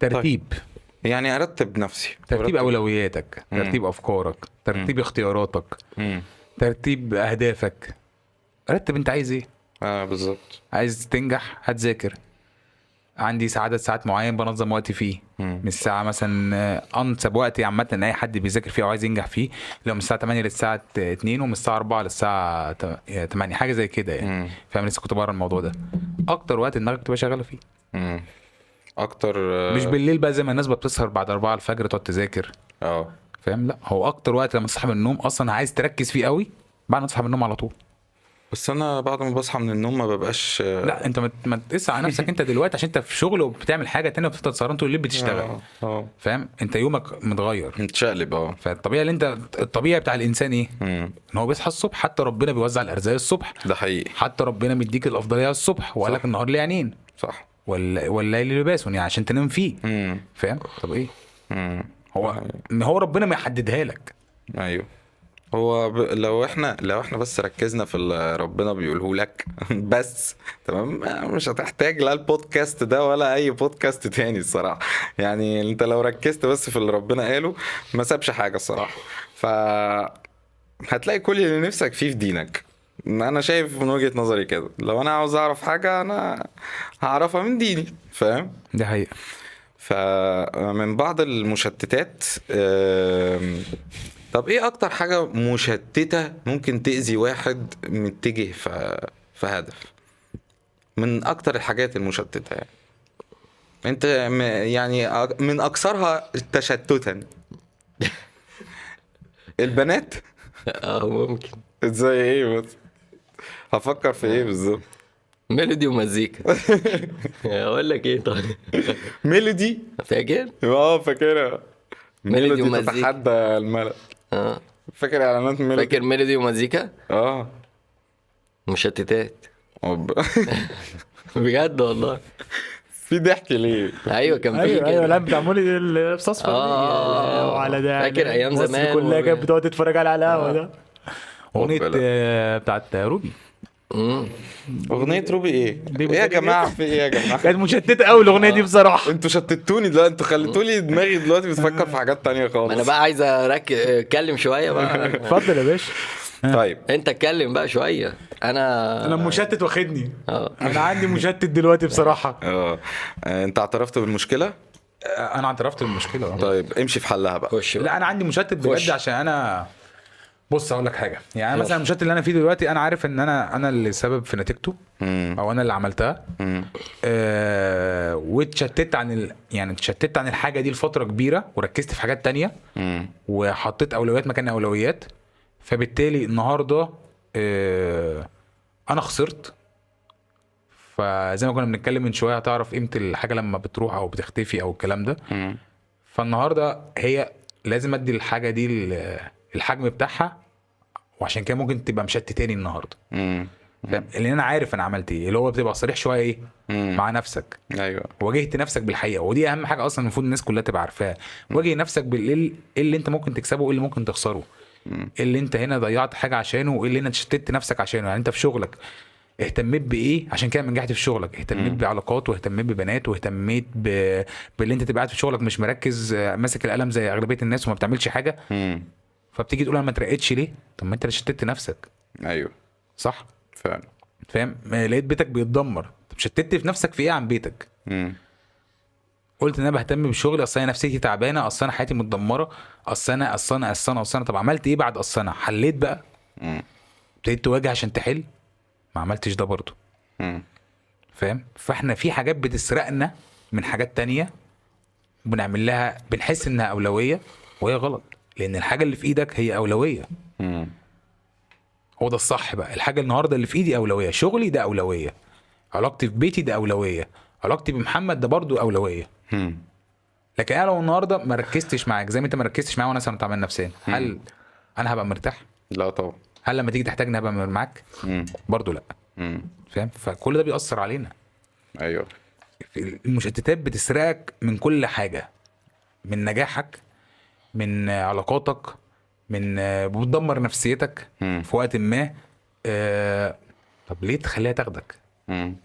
B: ترتيب
A: يعني ارتب نفسي
B: ترتيب
A: أرتب-
B: اولوياتك
A: مم.
B: ترتيب افكارك ترتيب اختياراتك
A: مم.
B: ترتيب اهدافك رتب انت عايز ايه
A: اه بالظبط
B: عايز تنجح هتذاكر عندي سعادة ساعات معين بنظم وقتي فيه
A: مم.
B: من الساعة مثلا آه، أنسب وقت عامة إن أي حد بيذاكر فيه أو عايز ينجح فيه لو من الساعة 8 للساعة 2 ومن الساعة 4 للساعة 8 حاجة زي كده يعني
A: مم.
B: فاهم لسه كنت بقرا الموضوع ده أكتر وقت دماغك بتبقى شغالة فيه
A: مم. اكتر آه،
B: مش بالليل بقى زي ما الناس بتسهر بعد 4 الفجر تقعد تذاكر
A: اه
B: فاهم لا هو أكتر وقت لما تصحى من النوم أصلا عايز تركز فيه قوي بعد ما تصحى من النوم على طول
A: بس انا بعد ما بصحى من النوم ما ببقاش آه،
B: لا انت ما- ما تقيس على نفسك انت دلوقتي عشان انت في شغل وبتعمل حاجه تانية وبتفضل سهران طول الليل بتشتغل
A: اه اه
B: فاهم انت يومك متغير
A: متشقلب اه
B: فالطبيعي اللي انت الطبيعي بتاع الانسان ايه؟
A: مم.
B: ان هو بيصحى الصبح حتى ربنا بيوزع الارزاق الصبح
A: ده حقيقي
B: حتى ربنا مديك الافضليه على الصبح وقال لك
A: صح.
B: النهار ليه عينين
A: صح
B: وال- والليل لباس يعني عشان تنام فيه
A: امم
B: فاهم؟ طب ايه؟
A: امم
B: هو ان هو ربنا ما يحددها لك
A: ايوه هو ب... لو احنا لو احنا بس ركزنا في اللي ربنا بيقوله لك بس تمام مش هتحتاج لا البودكاست ده ولا اي بودكاست تاني الصراحه يعني انت لو ركزت بس في اللي ربنا قاله ما سابش حاجه الصراحه ف هتلاقي كل اللي نفسك فيه في دينك انا شايف من وجهة نظري كده لو انا عاوز اعرف حاجه انا هعرفها من ديني فاهم
B: دي حقيقه
A: فمن بعض المشتتات آم، طب ايه اكتر حاجة مشتتة ممكن تأذي واحد متجه في في هدف من اكتر الحاجات المشتتة يعني انت م- يعني أك- من اكثرها تشتتا البنات
C: اه ممكن
A: ازاي ايه بس هفكر في ايه بالظبط
C: ميلودي ومزيكا اقول لك ايه طيب
A: ميلودي
C: فاكر؟
A: اه فاكرها ميلودي
C: ميلودي ومزيكا.
A: تتحدى الملل
C: اه
A: فاكر اعلانات ميلودي
C: فاكر ميلودي ومزيكا؟
A: اه
C: مشتتات
A: أب...
C: بجد والله
A: في ضحك ليه؟
C: ايوه كان
B: أيوة،
C: في
D: ايوه
C: كده.
D: ايوه لا
B: يعني.
D: بتاع مولي اللبس اصفر
C: آه،
D: وعلى ده
C: فاكر أيام
D: مصر
C: زمان
D: كلها
C: و-
D: كانت بتقعد تتفرج على القهوه ده
B: اغنيه
A: ربنا.
B: آه، بتاعت روبي
C: مم.
A: اغنيه روبي ايه؟ ايه يا
D: بتاعت
A: جماعه في ايه يا جماعه؟
D: آه، كانت مشتته قوي الاغنيه دي بصراحه
A: انتوا شتتوني دلوقتي انتوا خليتولي دماغي دلوقتي بتفكر في حاجات تانية
C: ما انا
A: خالص
C: بقى عايز اركز اتكلم شويه بقى
D: اتفضل يا باشا
A: طيب
C: انت اتكلم بقى شويه انا
D: انا مشتت واخدني
C: اه
D: انا عندي مشتت دلوقتي بصراحه
A: اه آه، انت اعترفت بالمشكله؟
B: آه، انا اعترفت بالمشكله
A: طيب امشي في حلها بقى
C: خش بقى
B: لا انا عندي مشتت
C: خش.
B: بجد عشان انا بص هقول لك حاجه يعني أنا مثلا المشتت اللي انا فيه دلوقتي انا عارف ان انا انا اللي سبب في نتيجته
A: مم.
B: او انا اللي عملتها
A: مم.
B: آه واتشتت عن ال... يعني اتشتت عن الحاجه دي لفتره كبيره وركزت في حاجات تانية
A: مم.
B: وحطيت اولويات مكان اولويات فبالتالي النهارده آه انا خسرت فزي ما كنا بنتكلم من شويه هتعرف قيمه الحاجه لما بتروح او بتختفي او الكلام ده
A: مم.
B: فالنهارده هي لازم ادي الحاجه دي ال- الحجم بتاعها وعشان كده ممكن تبقى مشتتاني النهارده
A: مم.
B: فاهم اللي انا عارف انا عملت ايه اللي هو بتبقى صريح شويه ايه
A: مم.
B: مع نفسك
A: ايوه
B: واجهت نفسك بالحقيقه ودي اهم حاجه اصلا المفروض الناس كلها تبقى عارفاها واجه نفسك بالايه إيه اللي انت ممكن تكسبه وايه اللي ممكن تخسره ايه اللي انت هنا ضيعت حاجه عشانه وايه اللي هنا شتت نفسك عشانه يعني انت في شغلك اهتميت بايه عشان كده نجحت في شغلك اهتميت بعلاقات واهتميت ببنات واهتميت ب... باللي انت تبقى قاعد في شغلك مش مركز آه، ماسك القلم زي اغلبيه الناس وما بتعملش حاجه
A: مم.
B: فبتيجي تقول انا ما اترقتش ليه طب ما انت اللي شتت نفسك
A: ايوه
B: صح
A: فعلا
B: فاهم آه، لقيت بيتك بيتدمر طب شتت في نفسك في ايه عن بيتك
A: مم.
B: قلت ان انا بهتم بشغلي اصل انا نفسيتي تعبانه اصل انا حياتي متدمره اصل انا اصل انا اصل انا اصل انا طب عملت ايه بعد اصل انا حليت بقى
A: مم.
B: ابتديت تواجه عشان تحل ما عملتش ده برضه
A: مم.
B: فاهم فاحنا في حاجات بتسرقنا من حاجات تانية بنعمل لها بنحس انها اولويه وهي غلط لان الحاجه اللي في ايدك هي اولويه
A: مم.
B: هو ده الصح بقى الحاجه النهارده اللي في ايدي اولويه شغلي ده اولويه علاقتي في بيتي ده اولويه علاقتي بمحمد ده برضو اولويه
A: مم.
B: لكن انا لو النهارده ما ركزتش معاك زي ما انت ما ركزتش معايا وانا مثلا تعبان نفسيا هل انا هبقى مرتاح
A: لا طبعا
B: هل لما تيجي تحتاجني هبقى معاك
A: مم.
B: برضو لا
A: مم.
B: فاهم فكل ده بيأثر علينا
A: ايوه
B: المشتتات بتسرقك من كل حاجه من نجاحك من علاقاتك من بتدمر نفسيتك
A: مم.
B: في وقت ما آه، طب ليه تخليها تاخدك
A: مم.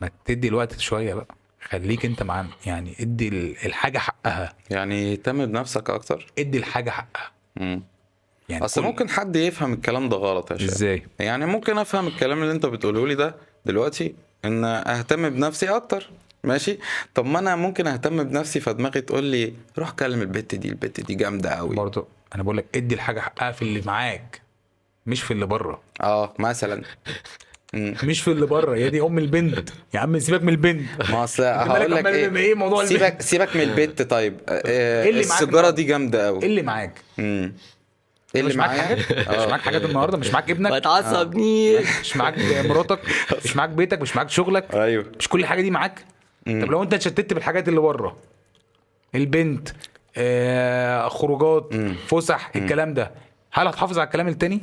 B: ما تدي الوقت شويه بقى خليك انت معانا يعني ادي ال- الحاجه حقها
A: يعني اهتم بنفسك اكتر
B: ادي الحاجه حقها
A: مم.
B: يعني
A: اصل
B: كل-
A: ممكن حد يفهم الكلام ده غلط يا شباب
B: ازاي
A: يعني ممكن افهم الكلام اللي انت بتقوله لي ده دلوقتي ان اهتم بنفسي اكتر ماشي طب ما انا ممكن اهتم بنفسي فدماغي تقول لي روح كلم البت دي البت دي جامده قوي
B: برضه انا بقول لك ادي الحاجه حقها في اللي معاك مش في اللي بره
A: اه مثلا مم.
B: مش في اللي بره يا دي ام البنت
D: يا عم سيبك من البنت
A: ما اصل
D: مالك
A: هقول لك
D: عمال
A: ايه,
D: بم- إيه موضوع البت؟
A: سيبك سيبك من البت طيب آه،
B: إيه اللي معاك
A: السيجاره دي جامده
B: ايه
A: قوي
B: اللي معاك
A: مم. ايه اللي
B: مش معاك
A: معايا آه.
B: حاجات مش معاك حاجات النهارده مش معاك
C: ما
B: ابنك
C: تعصبنيش
B: مش معاك مراتك مش معاك بيتك مش معاك شغلك
A: ايوه
B: مش كل حاجه دي معاك طب لو انت اتشتت بالحاجات اللي بره البنت آه خروجات فسح الكلام ده هل هتحافظ على الكلام التاني؟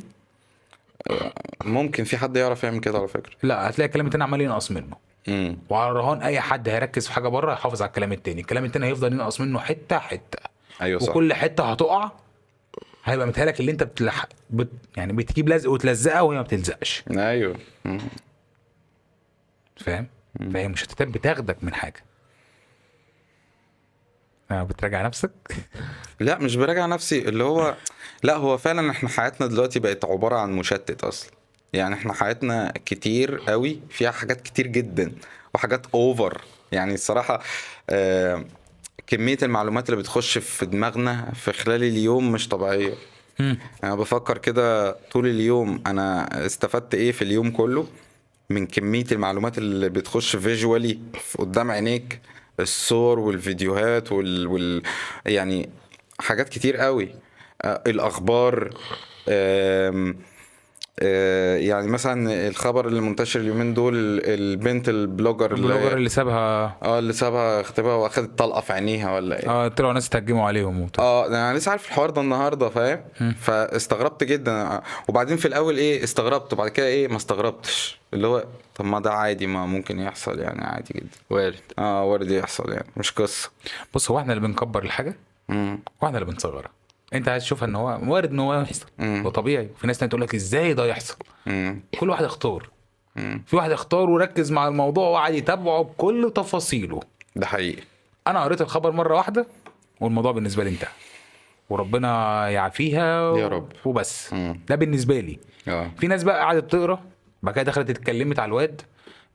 A: ممكن في حد يعرف يعمل كده على فكره
B: لا هتلاقي الكلام التاني عمال ينقص منه
A: مم.
B: وعلى رهان اي حد هيركز في حاجه بره هيحافظ على الكلام التاني الكلام التاني هيفضل ينقص منه حته حته
A: ايوه صح
B: وكل حته هتقع هيبقى متهيألك اللي انت بتلح... بت... يعني بتجيب لزق وتلزقها وهي ما بتلزقش
A: ايوه مم.
B: فاهم فهي مشتتات بتاخدك من حاجه آه، بتراجع نفسك
A: لا مش براجع نفسي اللي هو لا هو فعلا احنا حياتنا دلوقتي بقت عبارة عن مشتت اصلا يعني احنا حياتنا كتير قوي فيها حاجات كتير جدا وحاجات اوفر يعني الصراحة آه كمية المعلومات اللي بتخش في دماغنا في خلال اليوم مش طبيعية انا بفكر كده طول اليوم انا استفدت ايه في اليوم كله من كمية المعلومات اللي بتخش فيجوالي قدام عينيك الصور والفيديوهات وال, وال... يعني حاجات كتير قوي آه، الاخبار آم، آه، يعني مثلا الخبر اللي منتشر اليومين دول البنت البلوجر
B: البلوجر
A: اللي
B: اللي سابها
A: اه اللي سابها اختباء واخدت طلقه في عينيها ولا ايه
B: اه طلعوا ناس تهجموا عليهم وبتاع
A: اه انا لسه عارف الحوار ده النهارده فاهم فاستغربت جدا وبعدين في الاول ايه استغربت وبعد كده ايه ما استغربتش اللي هو طب ما ده عادي ما ممكن يحصل يعني عادي جدا
C: وارد
A: اه وارد يحصل يعني مش قصه
B: بص هو احنا اللي بنكبر الحاجه
A: مم.
B: واحنا اللي بنصغرها انت عايز تشوفها ان هو وارد ان هو يحصل
A: مم.
B: هو طبيعي في ناس تانية تقول لك ازاي ده يحصل
A: مم.
B: كل واحد اختار في واحد اختار وركز مع الموضوع وقعد يتابعه بكل تفاصيله
A: ده حقيقي
B: انا قريت الخبر مره واحده والموضوع بالنسبه لي انتهى وربنا يعافيها و-
A: يا رب.
B: وبس
A: مم.
B: ده بالنسبه لي
A: اه
B: في ناس بقى قعدت تقرا بعد كده دخلت اتكلمت على الواد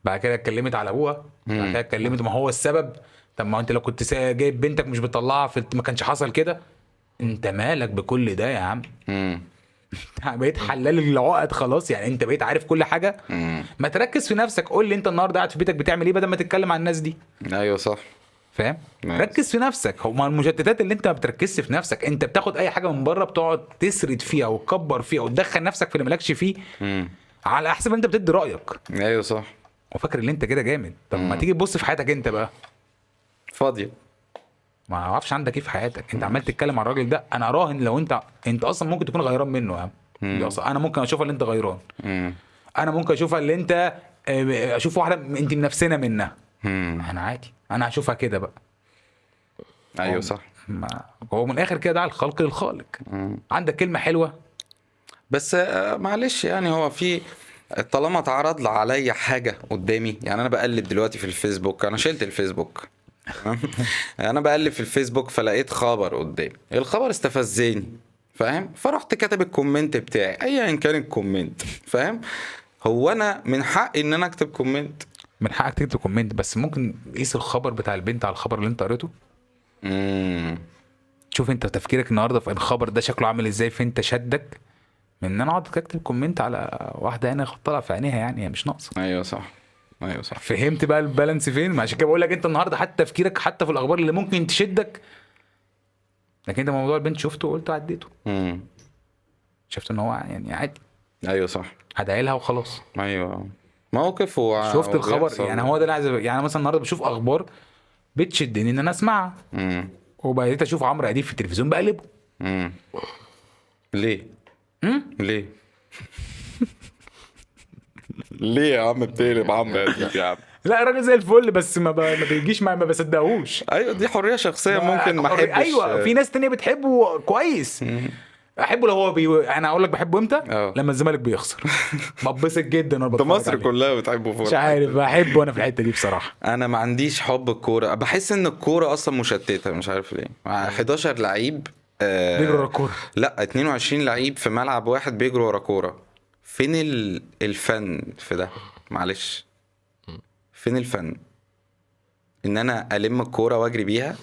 B: بعد كده اتكلمت على ابوها بعد كده اتكلمت ما هو السبب طب ما انت لو كنت سا- جايب بنتك مش بتطلعها في ما كانش حصل كده انت مالك بكل ده يا عم
A: مم.
B: بقيت حلال العقد خلاص يعني انت بقيت عارف كل حاجه
A: مم.
B: ما تركز في نفسك قول لي انت النهارده قاعد في بيتك بتعمل ايه بدل ما تتكلم عن الناس دي
A: ايوه صح
B: فاهم
A: Nice.
B: ركز في نفسك هو المشتتات اللي انت ما بتركزش في نفسك انت بتاخد اي حاجه من بره بتقعد تسرد فيها وتكبر فيها وتدخل نفسك في اللي مالكش فيه
A: مم.
B: على حسب انت بتدي رايك
A: ايوه صح
B: وفاكر ان انت كده جامد طب ما تيجي تبص في حياتك انت بقى
A: فاضيه
B: ما اعرفش عندك ايه في حياتك انت عمال تتكلم عن الراجل ده انا راهن لو انت انت اصلا ممكن تكون غيران منه يا عم دي اصلا انا ممكن اشوفها اللي انت غيران
A: مم.
B: انا ممكن اشوفها اللي انت اه، اشوف واحده انت منافسنا منها
A: مم.
B: انا عادي انا هشوفها كده بقى
A: ايوه صح
B: ما هو من الاخر كده ده على الخلق للخالق عندك كلمه حلوه
A: بس آه، معلش يعني هو في طالما اتعرض لي عليا حاجه قدامي يعني انا بقلب دلوقتي في الفيسبوك انا شلت الفيسبوك تمام؟ انا بقلب في الفيسبوك فلقيت خبر قدامي الخبر استفزني فاهم فرحت كاتب الكومنت بتاعي ايا كان الكومنت فاهم هو انا من حقي ان انا اكتب كومنت
B: من حقك تكتب كومنت بس ممكن قيس الخبر بتاع البنت على الخبر اللي انت قريته
A: امم
B: شوف انت تفكيرك النهارده في الخبر ده شكله عامل ازاي فانت شدك من ان انا اقعد اكتب كومنت على واحده انا طالع في عينيها يعني هي يعني، مش ناقصه
A: ايوه صح ايوه صح
B: فهمت بقى البالانس فين ما عشان كده بقول لك انت النهارده حتى تفكيرك حتى في الاخبار اللي ممكن تشدك لكن انت موضوع البنت شفته وقلت عديته
A: امم
B: شفت ان هو يعني عادي
A: ايوه صح
B: هدعي لها وخلاص
A: ايوه موقف و...
B: شفت
A: وبيحصل.
B: الخبر يعني هو ده اللي عايز يعني أنا مثلا النهارده بشوف اخبار بتشدني ان انا اسمعها
A: امم
B: وبقيت اشوف عمرو اديب في التلفزيون بقلبه
A: امم ليه؟ ليه؟ ليه يا عم بتقلب عمرو يا عم؟
B: لا الراجل زي الفل بس ما, ب... ما بيجيش معايا ما بصدقهوش
A: ايوه دي حريه شخصيه ممكن ما
B: حر-
A: احبش
B: ايوه في ناس تانية بتحبه كويس احبه لو هو بي... انا اقول لك بحبه امتى
A: اه.
B: لما الزمالك بيخسر بتبسط جدا وانا
A: ده
B: بتفرج
A: مصر
B: عليه.
A: كلها بتحبه فوق
B: مش عارف بحبه انا في الحته دي بصراحه
A: انا ما عنديش حب الكوره بحس ان الكوره اصلا مشتته مش عارف ليه مع 11 لعيب آه،
B: بيجروا ورا الكورة.
A: لا 22 لعيب في ملعب واحد بيجروا ورا كوره فين ال- الفن في ده معلش فين الفن ان انا الم الكوره واجري بيها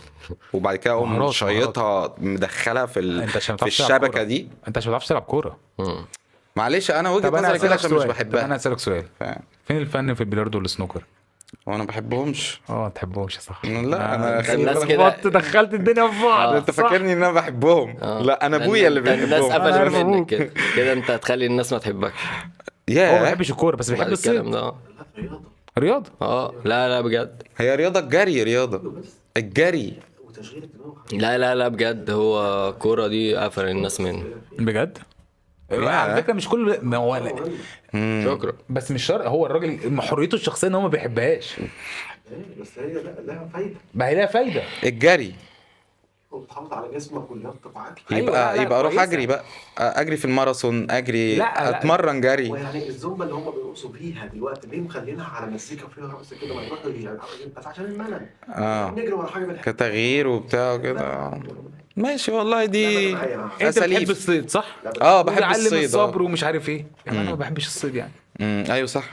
A: وبعد كده اقوم
B: مهارات،
A: شيطها مدخلها في ال...
B: انت عشان ما
A: في
B: بتعرفش تلعب
A: الشبكه
B: كورة.
A: دي
B: انت عشان ما بتعرفش تلعب كوره
A: معلش انا وجهه
B: طب انا
A: نظري كده
B: هسالك
A: عشان مش
B: سؤال طب انا
A: بحبها
B: هسالك سؤال
A: ف-
B: فين الفن في البلياردو والسنوكر؟
A: وانا ما بحبهمش
B: اه ما تحبهمش صح
A: لا انا خلي
C: الناس
A: بالك
C: كده-
D: بط دخلت الدنيا في بعض
A: ده انت
D: صح؟
A: آه. فاكرني ان انا بحبهم
C: آه.
A: لا انا
C: ده
A: ابويا اللي
C: انت- الناس
A: بيحبهم
D: أنا
C: قفلت
D: عارف
C: منك
D: أبوك.
C: كده كده انت هتخلي الناس ما تحبكش
B: هو ما
A: يا
B: بيحبش الكوره بس بيحب الصيد
C: الكلام ده آه.
B: رياضه
C: اه لا لا بجد
A: هي رياضه الجري رياضه الجري
C: لا لا لا بجد هو الكوره دي قفل الناس منه
B: بجد على فكره مش كل ما هو
C: شكرا
B: بس مش شرط هو الراجل حريته الشخصيه ان هو ما بيحبهاش
E: إيه، بس هي لا لها فايده
B: ما هي لها فايده
A: الجري
E: وبتحافظ على جسمك واللياقه معاك
B: أيوة،
A: يبقى
B: لا، لا،
A: يبقى اروح
B: كويسة.
A: اجري بقى اجري في الماراثون اجري
B: لا، لا.
A: اتمرن جري
E: ويعني يعني الزومبا اللي هم بيرقصوا بيها دلوقتي ليه مخلينها على مزيكا فيها رقص كده ما يروحوا يلعبوا بس عشان الملل
A: آه.
E: نجري ورا حاجه بنحبها
A: كتغيير وبتاع كده ماشي والله دي
E: لا، لا، لا،
B: انت بتحب
A: اساليب
B: الصيد صح؟
A: اه بحب
B: وبيعلم
A: الصيد آه.
B: الصبر ومش عارف ايه انا ما بحبش الصيد يعني
A: امم، ايوه صح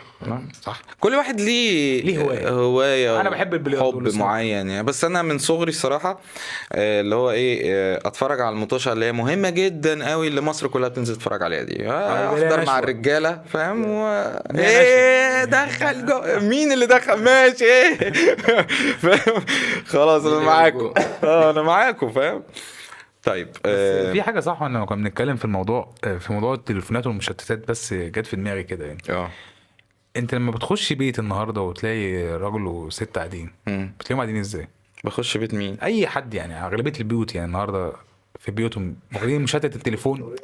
B: صح
A: كل واحد ليه
B: ليه هواية.
A: هوايه
B: أنا بحب البلياردو
A: حب
B: والسنوكر.
A: معين يعني بس انا من صغري الصراحه آه، اللي هو ايه آه، اتفرج على المطوشه اللي هي مهمه جدا قوي اللي مصر كلها بتنزل تتفرج عليها دي آه،
B: آه، اللي هي
A: احضر
B: نشوة.
A: مع الرجاله فاهم و...
B: اللي هي
A: ايه دخل جو... مين اللي دخل ماشي ايه فاهم خلاص انا
C: اللي
A: معاكم
C: جوه؟
A: اه انا معاكم فاهم طيب
B: بس يعني.
A: آه،
B: في حاجه صح وانا لما كنا بنتكلم في الموضوع آه، في موضوع التليفونات والمشتتات بس جت في دماغي كده يعني
A: اه
B: انت لما بتخش بيت النهارده وتلاقي راجل وست قاعدين
A: مم.
B: بتلاقيهم قاعدين ازاي؟
A: بخش بيت مين
B: اي حد يعني اغلبيه البيوت يعني النهارده في بيوتهم واخدين مشتت التليفون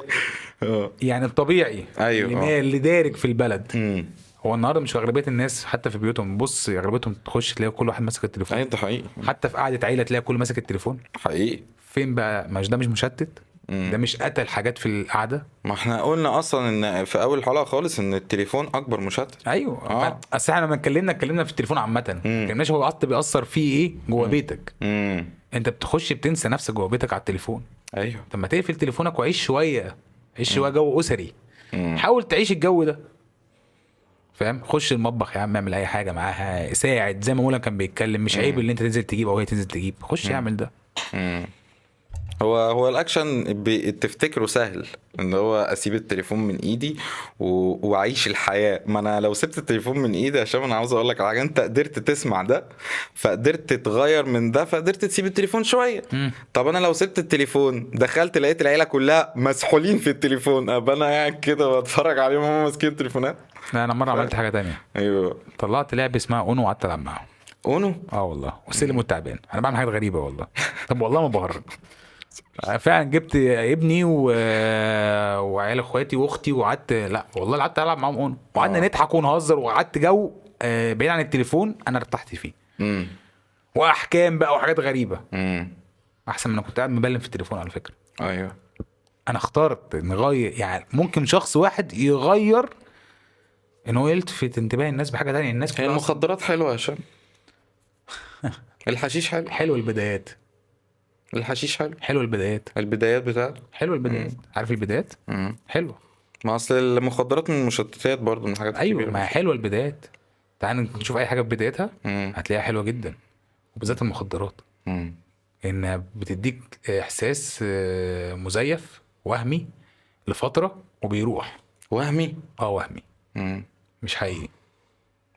A: اه
B: يعني الطبيعي
A: أيوة،
B: اللي,
A: آه.
B: ما- اللي دارج في البلد
A: مم.
B: هو النهارده مش اغلبيه الناس حتى في بيوتهم بص اغلبيتهم تخش تلاقي كل واحد ماسك التليفون
A: ايوه ده حقيقي
B: حتى في قعده عيله تلاقي كل ماسك التليفون
A: حقيقي
B: فين بقى مش ده مش مشتت ده مش قتل حاجات في القعده
A: ما احنا قلنا اصلا ان في اول الحلقه خالص ان التليفون اكبر مشتت
B: ايوه
A: آه.
B: ف- اصل احنا لما اتكلمنا اتكلمنا في التليفون عامه ما اتكلمناش هو قط بيأثر فيه ايه جوه بيتك
A: امم
B: انت بتخش بتنسى نفسك جوه بيتك على التليفون
A: ايوه
B: طب ما تقفل تليفونك وعيش شويه عيش شويه جو اسري
A: مم.
B: حاول تعيش الجو ده فاهم خش المطبخ يا عم اعمل اي حاجه معاها ساعد زي ما مولا كان بيتكلم مش عيب اللي انت تنزل تجيب او هي تنزل تجيب خش اعمل ده
A: هو هو الاكشن بي- تفتكره سهل ان هو اسيب التليفون من ايدي و... واعيش الحياه ما انا لو سبت التليفون من ايدي عشان انا عاوز اقول لك على حاجه انت قدرت تسمع ده فقدرت تتغير من ده فقدرت تسيب التليفون شويه طب انا لو سبت التليفون دخلت لقيت العيله كلها مسحولين في التليفون ابقى انا قاعد كده بتفرج عليهم هم ماسكين تليفونات
B: لا، انا مره عملت حاجه تانية
A: ايوه
B: طلعت لعبه اسمها اونو وقعدت العب معاهم
A: اونو
B: اه والله والسلم والتعبان انا بعمل حاجات غريبه والله طب والله ما بهرج فعلا جبت ابني و... وعيال اخواتي واختي وقعدت لا والله قعدت العب معاهم اونو وقعدنا نضحك ونهزر وقعدت جو آه، بعيد عن التليفون انا ارتحت فيه
A: امم
B: واحكام بقى وحاجات غريبه
A: امم
B: احسن من انا كنت قاعد مبلم في التليفون على فكره أيوه.
A: ايوه
B: انا اخترت نغير يعني ممكن شخص واحد يغير ان هو يلتفت انتباه الناس بحاجه تانية الناس
A: هي
B: كلها أصلاً-
A: المخدرات حلوه يا هشام الحشيش حلو
B: حلو البدايات
A: الحشيش حلو
B: حلو البدايات
A: البدايات بتاعته
B: حلو البدايات عارف البدايات
A: مم.
B: حلو
A: ما اصل المخدرات من المشتتات برضه من حاجات
B: ايوه
A: كبيرة.
B: ما هي حلوه البدايات تعال نشوف اي حاجه في بدايتها
A: مم.
B: هتلاقيها حلوه جدا وبالذات المخدرات
A: مم.
B: انها بتديك احساس آه، مزيف وهمي لفتره وبيروح
A: وهمي
B: اه وهمي
A: مم.
B: مش حقيقي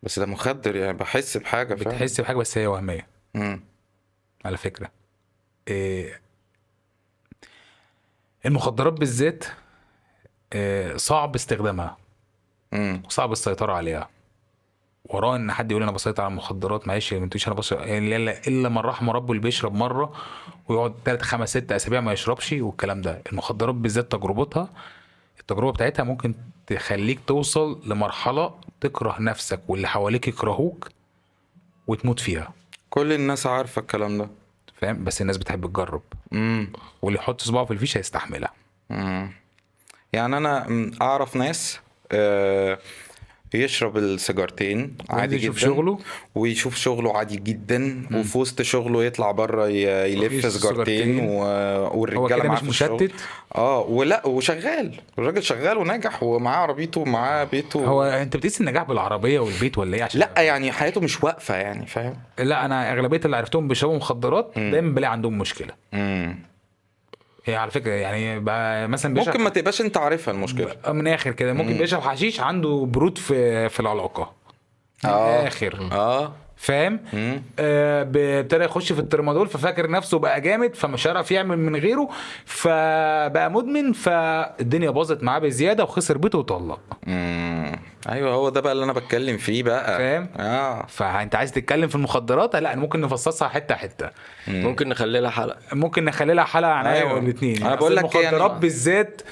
A: بس ده مخدر يعني بحس بحاجه فعلا
B: بتحس بحاجه بس هي وهميه
A: مم.
B: على فكرة إيه المخدرات بالذات إيه صعب استخدامها
A: مم.
B: وصعب السيطرة عليها وراه ان حد يقول انا بسيطر على المخدرات معلش ما انتوش انا بسيطر يعني الا الا من رحم ربه اللي بيشرب مره ويقعد ثلاث خمس ست اسابيع ما يشربش والكلام ده المخدرات بالذات تجربتها التجربه بتاعتها ممكن تخليك توصل لمرحله تكره نفسك واللي حواليك يكرهوك وتموت فيها
A: كل الناس عارفه الكلام ده
B: فاهم بس الناس بتحب تجرب
A: مم.
B: واللي يحط صباعه في الفيش هيستحملها
A: مم. يعني انا مم، اعرف ناس آه، يشرب السيجارتين عادي
B: يشوف
A: جدا
B: شغله؟
A: ويشوف شغله عادي جدا وفي وسط شغله يطلع بره ي- يلف
B: يشوف
A: سيجارتين
B: سيجارتين.
A: و...
B: هو
A: والرجاله
B: كده
A: معاه
B: مش
A: في الشغل.
B: مشتت
A: اه ولا وشغال الراجل شغال وناجح ومعاه عربيته ومعاه بيته
B: هو انت بتقيس النجاح بالعربيه والبيت ولا ايه عشان
A: لا يعني حياته مش واقفه يعني فاهم
B: لا انا اغلبيه اللي عرفتهم بيشربوا مخدرات دايما بلاقي عندهم مشكله
A: مم.
B: هي على فكره يعني بقى مثلا بيشرب
A: ممكن ما تبقاش انت عارفها المشكله
B: من الاخر كده ممكن بيشرب حشيش عنده برود في في العلاقه من
A: آه.
B: الاخر
A: اه
B: فاهم
A: مم.
B: آه، ب- ابتدى يخش في الترمادول ففاكر نفسه بقى جامد فمش هيعرف يعمل من غيره فبقى مدمن فالدنيا باظت معاه بزياده وخسر بيته وطلق
A: مم. ايوه هو ده بقى اللي انا بتكلم فيه بقى
B: فاهم؟
A: اه
B: فانت عايز تتكلم في المخدرات لا ممكن نفصصها حته حته
C: ممكن نخلي لها حلقه
B: ممكن نخلي لها حلقه عن
A: أيوة.
B: ايوه والاثنين
A: أنا بقول لك إيه، أنا-
B: المخدرات بالذات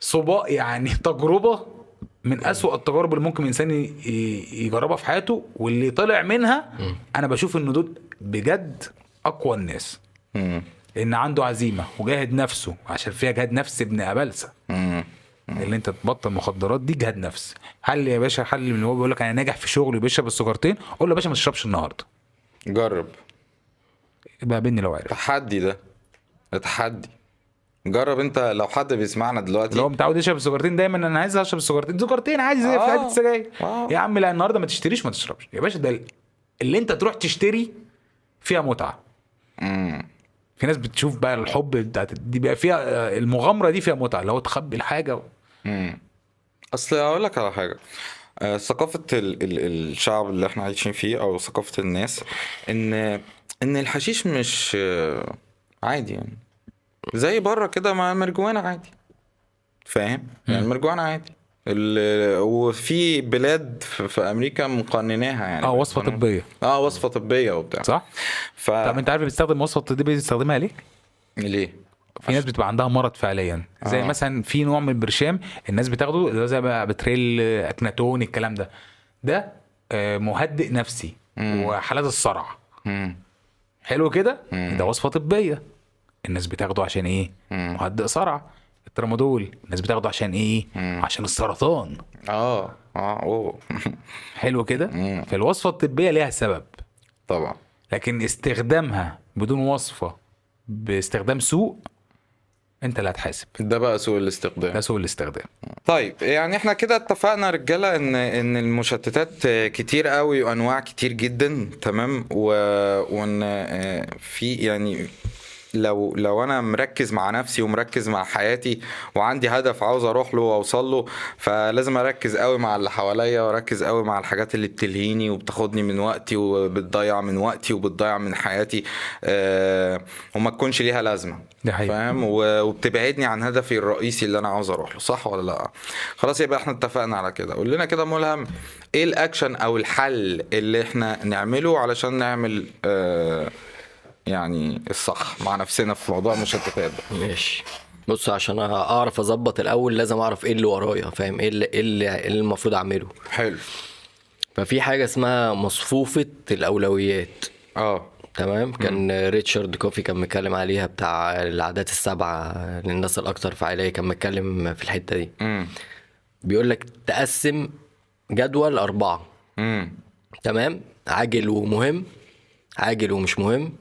B: صباء يعني تجربه من أسوأ التجارب اللي ممكن الانسان ي- ي- يجربها في حياته واللي طلع منها انا بشوف ان دول بجد اقوى الناس
A: مم.
B: ان عنده عزيمه وجاهد نفسه عشان فيها جهاد نفس ابن ابلسه
A: مم.
B: اللي انت تبطل مخدرات دي جهاد نفس حل يا باشا حل من اللي هو بيقول لك انا ناجح في شغلي بيشرب السجارتين قول له يا باشا ما تشربش النهارده
A: جرب
B: بقى بيني لو عرف
A: تحدي ده تحدي جرب انت لو حد بيسمعنا دلوقتي
B: لو هو متعود يشرب السجارتين دايما انا عايز اشرب السجارتين سجارتين عايز زي في
A: آه.
B: علبه سجاير
A: آه.
B: يا عم لا النهارده ما تشتريش ما تشربش يا باشا ده اللي انت تروح تشتري فيها متعه
A: مم.
B: في ناس بتشوف بقى الحب بتاعت دي بقى فيها آه، المغامره دي فيها متعه لو تخبي الحاجه
A: مم. اصل اقول لك على حاجه آه، ثقافه ال ال الشعب اللي احنا عايشين فيه او ثقافه الناس ان ان الحشيش مش آه، عادي يعني زي بره كده مع المرجوانه عادي فاهم يعني المرجوانه عادي ال- وفي بلاد في في امريكا مقنناها يعني
B: اه وصفه
A: مقننة.
B: طبيه
A: اه وصفه طبيه وبتاع
B: صح؟
A: ف
B: طب انت عارف بتستخدم وصفه طبيه بتستخدمها ليه؟
A: ليه
B: في ناس بتبقى عندها مرض فعليا زي
A: آه.
B: آه. مثلا في نوع من البرشام الناس بتاخده اللي هو زي بقى بتريل اكناتون الكلام ده ده آه، مهدئ نفسي
A: مم.
B: وحالات الصرع
A: مم.
B: حلو كده
A: مم.
B: ده وصفه طبيه الناس بتاخده عشان ايه
A: مم.
B: مهدئ صرع الترامادول الناس بتاخده عشان ايه
A: مم.
B: عشان السرطان
A: اه اه اوه
B: حلو كده
A: مم.
B: فالوصفه الطبيه ليها سبب
A: طبعا
B: لكن استخدامها بدون وصفه باستخدام سوء انت اللي هتحاسب
A: ده بقى سوء الاستخدام
B: ده سوء الاستخدام
A: طيب يعني احنا كده اتفقنا يا رجاله ان ان المشتتات كتير قوي وانواع كتير جدا تمام و... وان اه، في يعني لو لو انا مركز مع نفسي ومركز مع حياتي وعندي هدف عاوز اروح له واوصل له فلازم اركز قوي مع اللي حواليا واركز قوي مع الحاجات اللي بتلهيني وبتاخدني من وقتي وبتضيع من وقتي وبتضيع من حياتي اه وما تكونش ليها لازمه
B: ده حقيقي.
A: فاهم و- وبتبعدني عن هدفي الرئيسي اللي انا عاوز اروح له صح ولا لا خلاص يبقى احنا اتفقنا على كده قول لنا كده ملهم ايه الاكشن او الحل اللي احنا نعمله علشان نعمل آه يعني الصح مع نفسنا في موضوع المشتتات ده
C: ماشي بص عشان اعرف اظبط الاول لازم اعرف ايه اللي ورايا فاهم ايه اللي إيه اللي إيه اللي المفروض اعمله
A: حلو
C: ففي حاجه اسمها مصفوفه الاولويات
A: اه
C: تمام كان ريتشارد كوفي كان متكلم عليها بتاع العادات السبعه للناس الاكثر فعاليه كان متكلم في الحته دي
A: امم
C: بيقول لك تقسم جدول اربعه
A: امم
C: تمام عاجل ومهم عاجل ومش مهم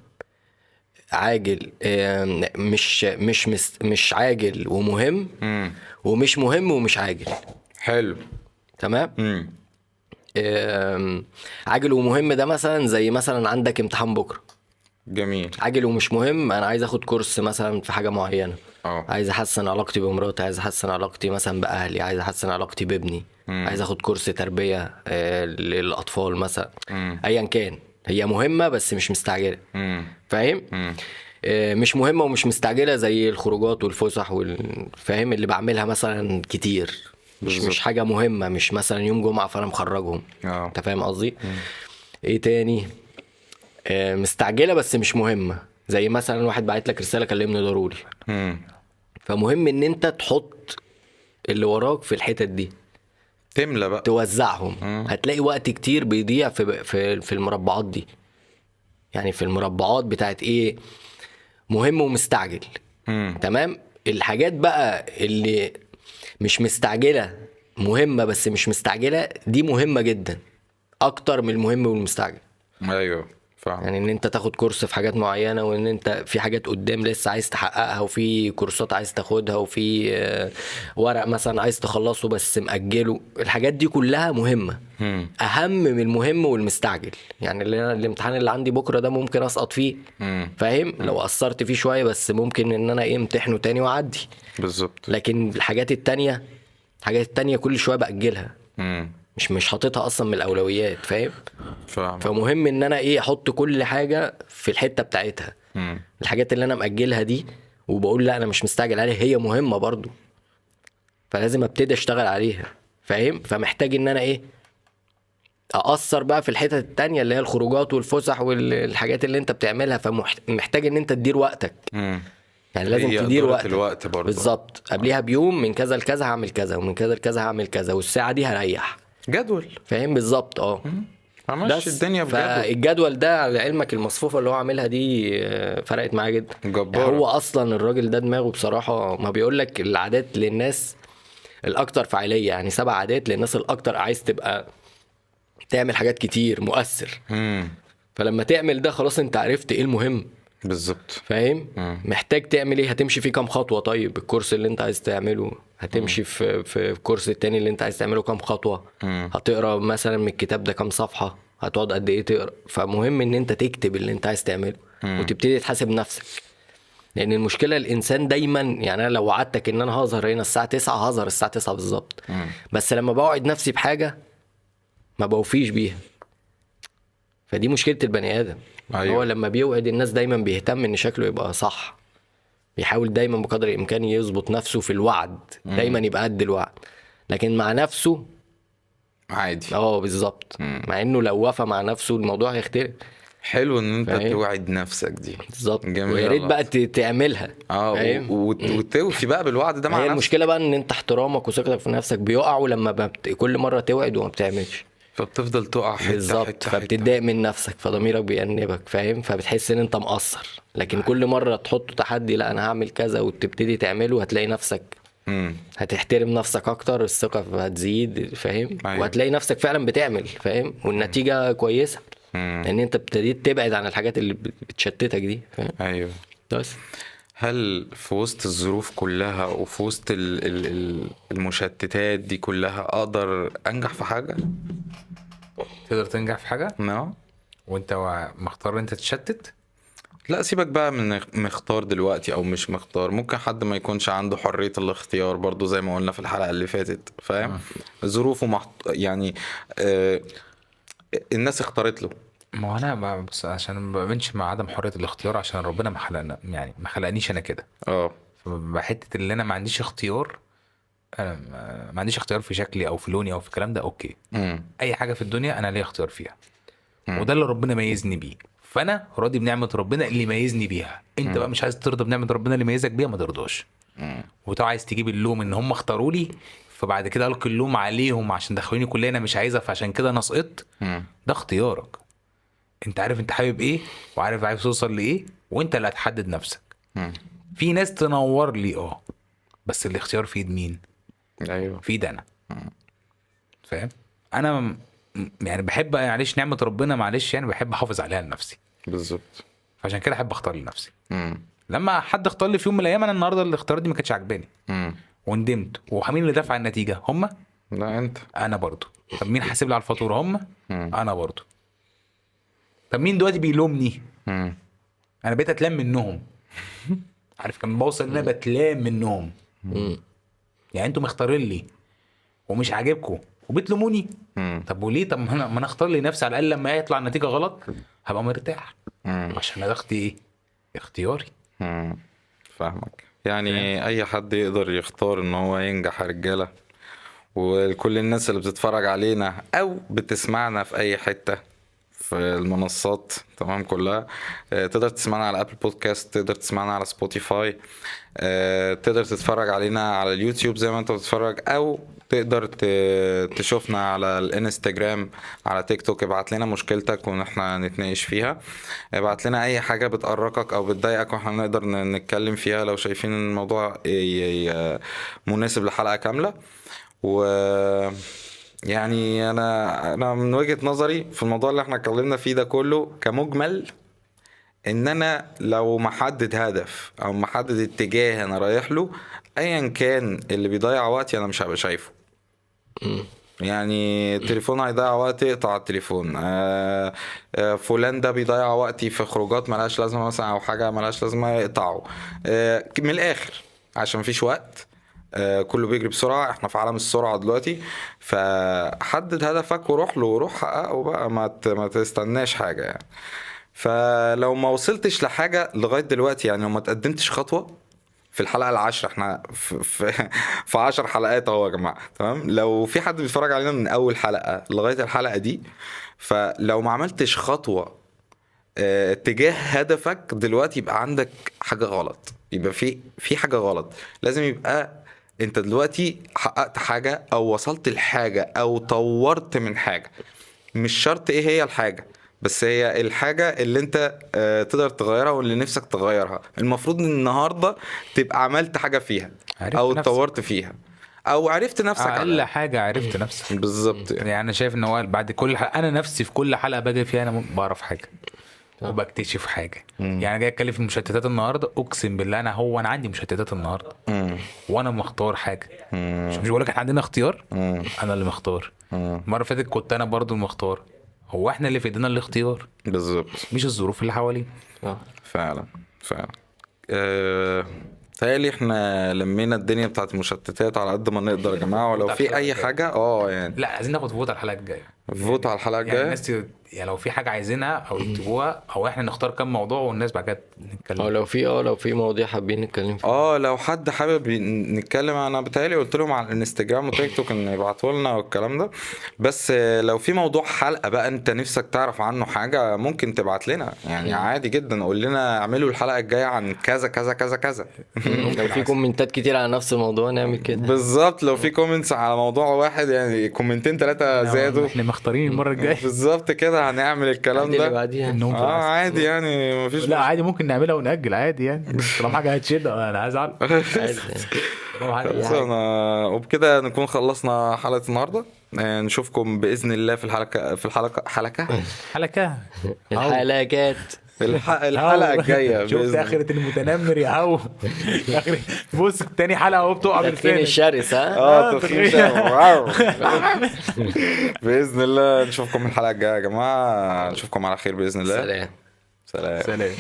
C: عاجل آم، مش مش مش, مش عاجل ومهم
A: امم
C: ومش مهم ومش عاجل
A: حلو
C: تمام
A: امم
C: آم، عاجل ومهم ده مثلا زي مثلا عندك امتحان بكره
A: جميل
C: عاجل ومش مهم انا عايز اخد كورس مثلا في حاجه معينه
A: اه.
C: عايز احسن علاقتي بمراتي عايز احسن علاقتي مثلا باهلي عايز احسن علاقتي بابني مم. عايز اخد كورس تربيه آه، للاطفال مثلا ايا كان هي مهمه بس مش مستعجله
A: امم
C: فاهم آه، مش مهمه ومش مستعجله زي الخروجات والفسح والفاهم اللي بعملها مثلا كتير مش مش حاجه مهمه مش مثلا يوم جمعه فانا مخرجهم
A: اه.
C: انت فاهم قصدي ايه تاني آه، مستعجله بس مش مهمه زي مثلا واحد بعت لك رساله كلمني ضروري
A: امم
C: فمهم ان انت تحط اللي وراك في الحتت دي
A: تملى بقى
C: توزعهم هتلاقي وقت كتير بيضيع في في في المربعات دي يعني في المربعات بتاعت ايه مهم ومستعجل
A: امم
C: تمام الحاجات بقى اللي مش مستعجله مهمه بس مش مستعجله دي مهمه جدا اكتر من المهم والمستعجل
A: ايوه فاهم
C: يعني ان انت تاخد كورس في حاجات معينه وان انت في حاجات قدام لسه عايز تحققها وفي كورسات عايز تاخدها وفي آه، ورق مثلا عايز تخلصه بس مأجله الحاجات دي كلها مهمه
A: امم
C: اهم من المهم والمستعجل يعني اللي أنا الامتحان اللي عندي بكره ده ممكن اسقط فيه
A: امم
C: فاهم لو قصرت فيه شويه بس ممكن ان انا ايه امتحنه تاني واعدي
A: بالظبط
C: لكن الحاجات التانيه الحاجات التانيه كل شويه بأجلها
A: امم
C: مش مش حاططها اصلا من الاولويات فاهم
A: فاهم
C: فمهم ان انا ايه احط كل حاجه في الحته بتاعتها
A: امم
C: الحاجات اللي انا مأجلها دي وبقول لا انا مش مستعجل عليها هي مهمه برضو فلازم ابتدي اشتغل عليها فاهم فمحتاج ان انا ايه اقصر بقى في الحتت التانية اللي هي الخروجات والفسح والحاجات اللي انت بتعملها فمحتاج ان انت تدير وقتك
A: امم
C: يعني لازم
A: هي
C: تدير
A: إدارة
C: وقتك
A: الوقت برضه.
C: بالظبط قبليها بيوم من كذا لكذا هعمل كذا ومن كذا لكذا هعمل كذا والساعه دي هريح
A: جدول
C: فاهم بالظبط اه
A: همشي الدنيا بجدول
C: فالجدول ده لعلمك المصفوفه اللي هو عاملها دي آه، فرقت معاه جدا
A: جبارة.
C: يعني هو اصلا الراجل ده دماغه بصراحه ما بيقول لك العادات للناس الاكثر فعاليه يعني سبع عادات للناس الاكثر عايز تبقى تعمل حاجات كتير مؤثر
A: امم
C: فلما تعمل ده خلاص انت عرفت ايه المهم
A: بالظبط
C: فاهم محتاج تعمل ايه هتمشي فيه كام خطوه طيب الكورس اللي انت عايز تعمله هتمشي في في الكورس التاني اللي انت عايز تعمله كام خطوه
A: مم.
C: هتقرا مثلا من الكتاب ده كام صفحه هتقعد قد ايه تقرا فمهم ان انت تكتب اللي انت عايز تعمله وتبتدي تحاسب نفسك لان المشكله الانسان دايما يعني انا لو وعدتك ان انا هظهر هنا الساعه 9 هظهر الساعه 9 بالظبط بس لما بوعد نفسي بحاجه ما بوفيش بيها فدي مشكله البني ادم
A: أيوة.
C: أيوة. هو لما بيوعد الناس دايما بيهتم ان شكله يبقى صح بيحاول دايما بقدر الامكان يظبط نفسه في الوعد دايما يبقى قد الوعد لكن مع نفسه
A: عادي
C: اه بالظبط مع انه لو وفى مع نفسه الموضوع هيختلف
A: حلو ان انت
C: فاهم؟
A: توعد نفسك دي
C: بالظبط
A: جميل
C: ويا ريت
A: والله.
C: بقى ت- تعملها
A: اه
C: فاهم؟
A: و- وت- وتوفي بقى بالوعد ده مع
C: هي
A: نفسك
C: المشكله بقى ان انت احترامك وثقتك في نفسك بيقعوا لما ببت... كل مره توعد وما بتعملش
A: فبتفضل تقع حته
C: بالظبط
A: حته حته
C: فبتتضايق من نفسك فضميرك بيأنبك فاهم فبتحس ان انت مقصر لكن كل مره تحط تحدي لا انا هعمل كذا وتبتدي تعمله هتلاقي نفسك
A: مم.
C: هتحترم نفسك اكتر الثقه هتزيد فاهم
A: أيوة.
C: وهتلاقي نفسك فعلا بتعمل فاهم والنتيجه كويسه
A: مم.
C: لان انت ابتديت تبعد عن الحاجات اللي بتشتتك دي فاهم
A: ايوه
C: بس
A: هل في وسط الظروف كلها وفي وسط ال- ال- ال- المشتتات دي كلها اقدر انجح في حاجه؟
B: تقدر تنجح في حاجه
A: نعم
B: وانت وا- مختار انت تشتت
A: لا سيبك بقى من مختار دلوقتي او مش مختار ممكن حد ما يكونش عنده حرية الاختيار برضو زي ما قلنا في الحلقة اللي فاتت فاهم
B: آه.
A: ظروفه محط... يعني آه الناس اختارت له
B: ما هو انا ما بس عشان ما بامنش مع عدم حريه الاختيار عشان ربنا ما خلقنا يعني ما خلقنيش انا كده
A: اه
B: فحته اللي انا ما عنديش اختيار انا ما- ما عنديش اختيار في شكلي او في لوني او في الكلام ده اوكي
A: امم
B: اي حاجه في الدنيا انا ليا اختيار فيها
A: مم.
B: وده اللي ربنا ميزني بيه فانا راضي بنعمه ربنا اللي ميزني بيها انت بقى مش عايز ترضى بنعمه ربنا اللي ميزك بيها ما ترضاش وتو عايز تجيب اللوم ان هم اختاروا لي فبعد كده القي اللوم عليهم عشان دخلوني كليه انا مش عايزها فعشان كده انا سقطت
A: امم
B: ده اختيارك انت عارف انت حابب ايه وعارف عايز توصل لايه وانت اللي هتحدد نفسك في ناس تنور لي اه بس الاختيار في ايد مين
A: ايوه
B: في ايد انا فاهم انا م- يعني بحب معلش نعمه ربنا معلش يعني بحب احافظ عليها لنفسي
A: بالظبط
B: فعشان كده احب اختار لنفسي
A: امم
B: لما حد اختار لي في يوم من الايام انا النهارده الاختيار دي ما كانتش عاجباني
A: امم
B: وندمت ومين اللي دفع النتيجه هم
A: لا انت
B: انا برضو طب مين حاسب لي على الفاتوره هم
A: مم.
B: انا برضو طب مين دلوقتي بيلومني
A: امم
B: انا بقيت اتلام منهم عارف كان بوصل ان انا بتلام منهم
C: مم.
B: يعني انتوا مختارين لي ومش عاجبكم وبتلوموني
A: مم.
B: طب وليه طب ما انا ما انا اختار لي نفسي على الاقل لما يطلع النتيجه غلط هبقى مرتاح
A: مم.
B: عشان انا اختي ايه اختياري
A: مم. فاهمك يعني اي حد يقدر يختار ان هو ينجح يا رجاله وكل الناس اللي بتتفرج علينا او بتسمعنا في اي حته في المنصات تمام كلها آه، تقدر تسمعنا على ابل بودكاست تقدر تسمعنا على سبوتيفاي آه، تقدر تتفرج علينا على اليوتيوب زي ما انت بتتفرج او تقدر ت- تشوفنا على الانستجرام على تيك توك ابعت لنا مشكلتك وان احنا نتناقش فيها ابعت لنا اي حاجه بتقرقك او بتضايقك واحنا نقدر ن- نتكلم فيها لو شايفين إن الموضوع ي- ي- مناسب لحلقه كامله و يعني انا انا من وجهه نظري في الموضوع اللي احنا اتكلمنا فيه ده كله كمجمل ان انا لو محدد هدف او محدد اتجاه انا رايح له ايا كان اللي بيضيع وقتي انا مش هبقى شايفه يعني التليفون هيضيع وقتي اقطع على التليفون آه، آه، فلان ده بيضيع وقتي في خروجات ملهاش لازمه مثلا او حاجه ملهاش لازمه اقطعه آه، من الاخر عشان مفيش وقت آه، كله بيجري بسرعه احنا في عالم السرعه دلوقتي فحدد هدفك وروح له وروح حققه بقى ما ت- ما تستناش حاجه يعني فلو ما وصلتش لحاجه لغايه دلوقتي يعني لو ما تقدمتش خطوه في الحلقه العاشره احنا في في, في 10 حلقات اهو يا جماعه تمام لو في حد بيتفرج علينا من اول حلقه لغايه الحلقه دي فلو ما عملتش خطوه اه، اتجاه هدفك دلوقتي يبقى عندك حاجه غلط يبقى في في حاجه غلط لازم يبقى انت دلوقتي حققت حاجه او وصلت لحاجه او طورت من حاجه مش شرط ايه هي الحاجه بس هي الحاجة اللي انت اه، تقدر تغيرها واللي نفسك تغيرها المفروض ان النهاردة تبقى عملت حاجة فيها
B: عرفت
A: او
B: نفسك.
A: اتطورت فيها او عرفت نفسك
B: اقل
A: على
B: حاجه عرفت نفسك
A: بالظبط يعني.
B: يعني انا شايف ان هو بعد كل حلقة انا نفسي في كل حلقه باجي فيها انا بعرف حاجه وبكتشف حاجه يعني جاي اتكلم في المشتتات النهارده اقسم بالله انا هو انا عندي مشتتات النهارده
A: مم.
B: وانا مختار حاجه مش مش بقول لك احنا عندنا اختيار
A: مم.
B: انا اللي مختار
A: مم.
B: المره اللي فاتت كنت انا برضو المختار هو احنا اللي في ايدينا الاختيار
A: بالظبط
B: مش الظروف اللي حوالينا
C: آه.
A: فعلا فعلا أه... تهيألي احنا لمينا الدنيا بتاعت المشتتات على قد ما نقدر يا جماعة ولو في اي حاجة اه يعني
B: لا عايزين ناخد فوت على الحلقه الجايه
A: فوت على الحلقة
B: يعني
A: الجاية
B: الناس ت- يعني لو في حاجه عايزينها او يكتبوها او احنا نختار كام موضوع والناس بعد كده
C: او
B: نتكلم
C: لو في اه لو في مواضيع حابين نتكلم فيها
A: اه لو حد حابب ين- نتكلم انا بتهيألي قلت لهم على الانستجرام وتيك توك ان يبعتوا لنا والكلام ده بس آه، لو في موضوع حلقه بقى انت نفسك تعرف عنه حاجه ممكن تبعت لنا يعني عادي جدا قول لنا اعملوا الحلقه الجايه عن كذا كذا كذا كذا
C: لو في كومنتات كتير على نفس الموضوع نعمل كده
A: بالظبط لو في كومنتس على موضوع واحد يعني كومنتين ثلاثه
B: نعم.
A: زادوا
B: احنا مختارين المره الجايه
A: بالظبط كده هنعمل الكلام
C: اللي
A: ده
C: بعديها
B: النوم في
A: اه
B: العسل.
A: عادي يعني مفيش
B: لا عادي ممكن نعملها ونأجل عادي يعني طالما حاجه هتشد انا عايز اعرف
C: عادي يعني.
B: طالما حاجه
A: خلصنا وبكده نكون خلصنا حلقه النهارده آه، نشوفكم باذن الله في الحلقه في الحلقه حلقه
B: يعني حلقه
C: الحلقات
A: الح- الحلقه الجايه
D: شفت
A: باذن الله
D: اخرة المتنمر يا هو اخر بص تاني حلقة اهو بتقع
C: تدخين
D: بالفعل
C: الشرس ها
A: اه
D: آه،
A: تخيل
D: تخيل.
A: واو. باذن الله نشوفكم الحلقه الجايه يا جماعه نشوفكم على خير باذن الله
C: سلام
A: سلام
B: سلام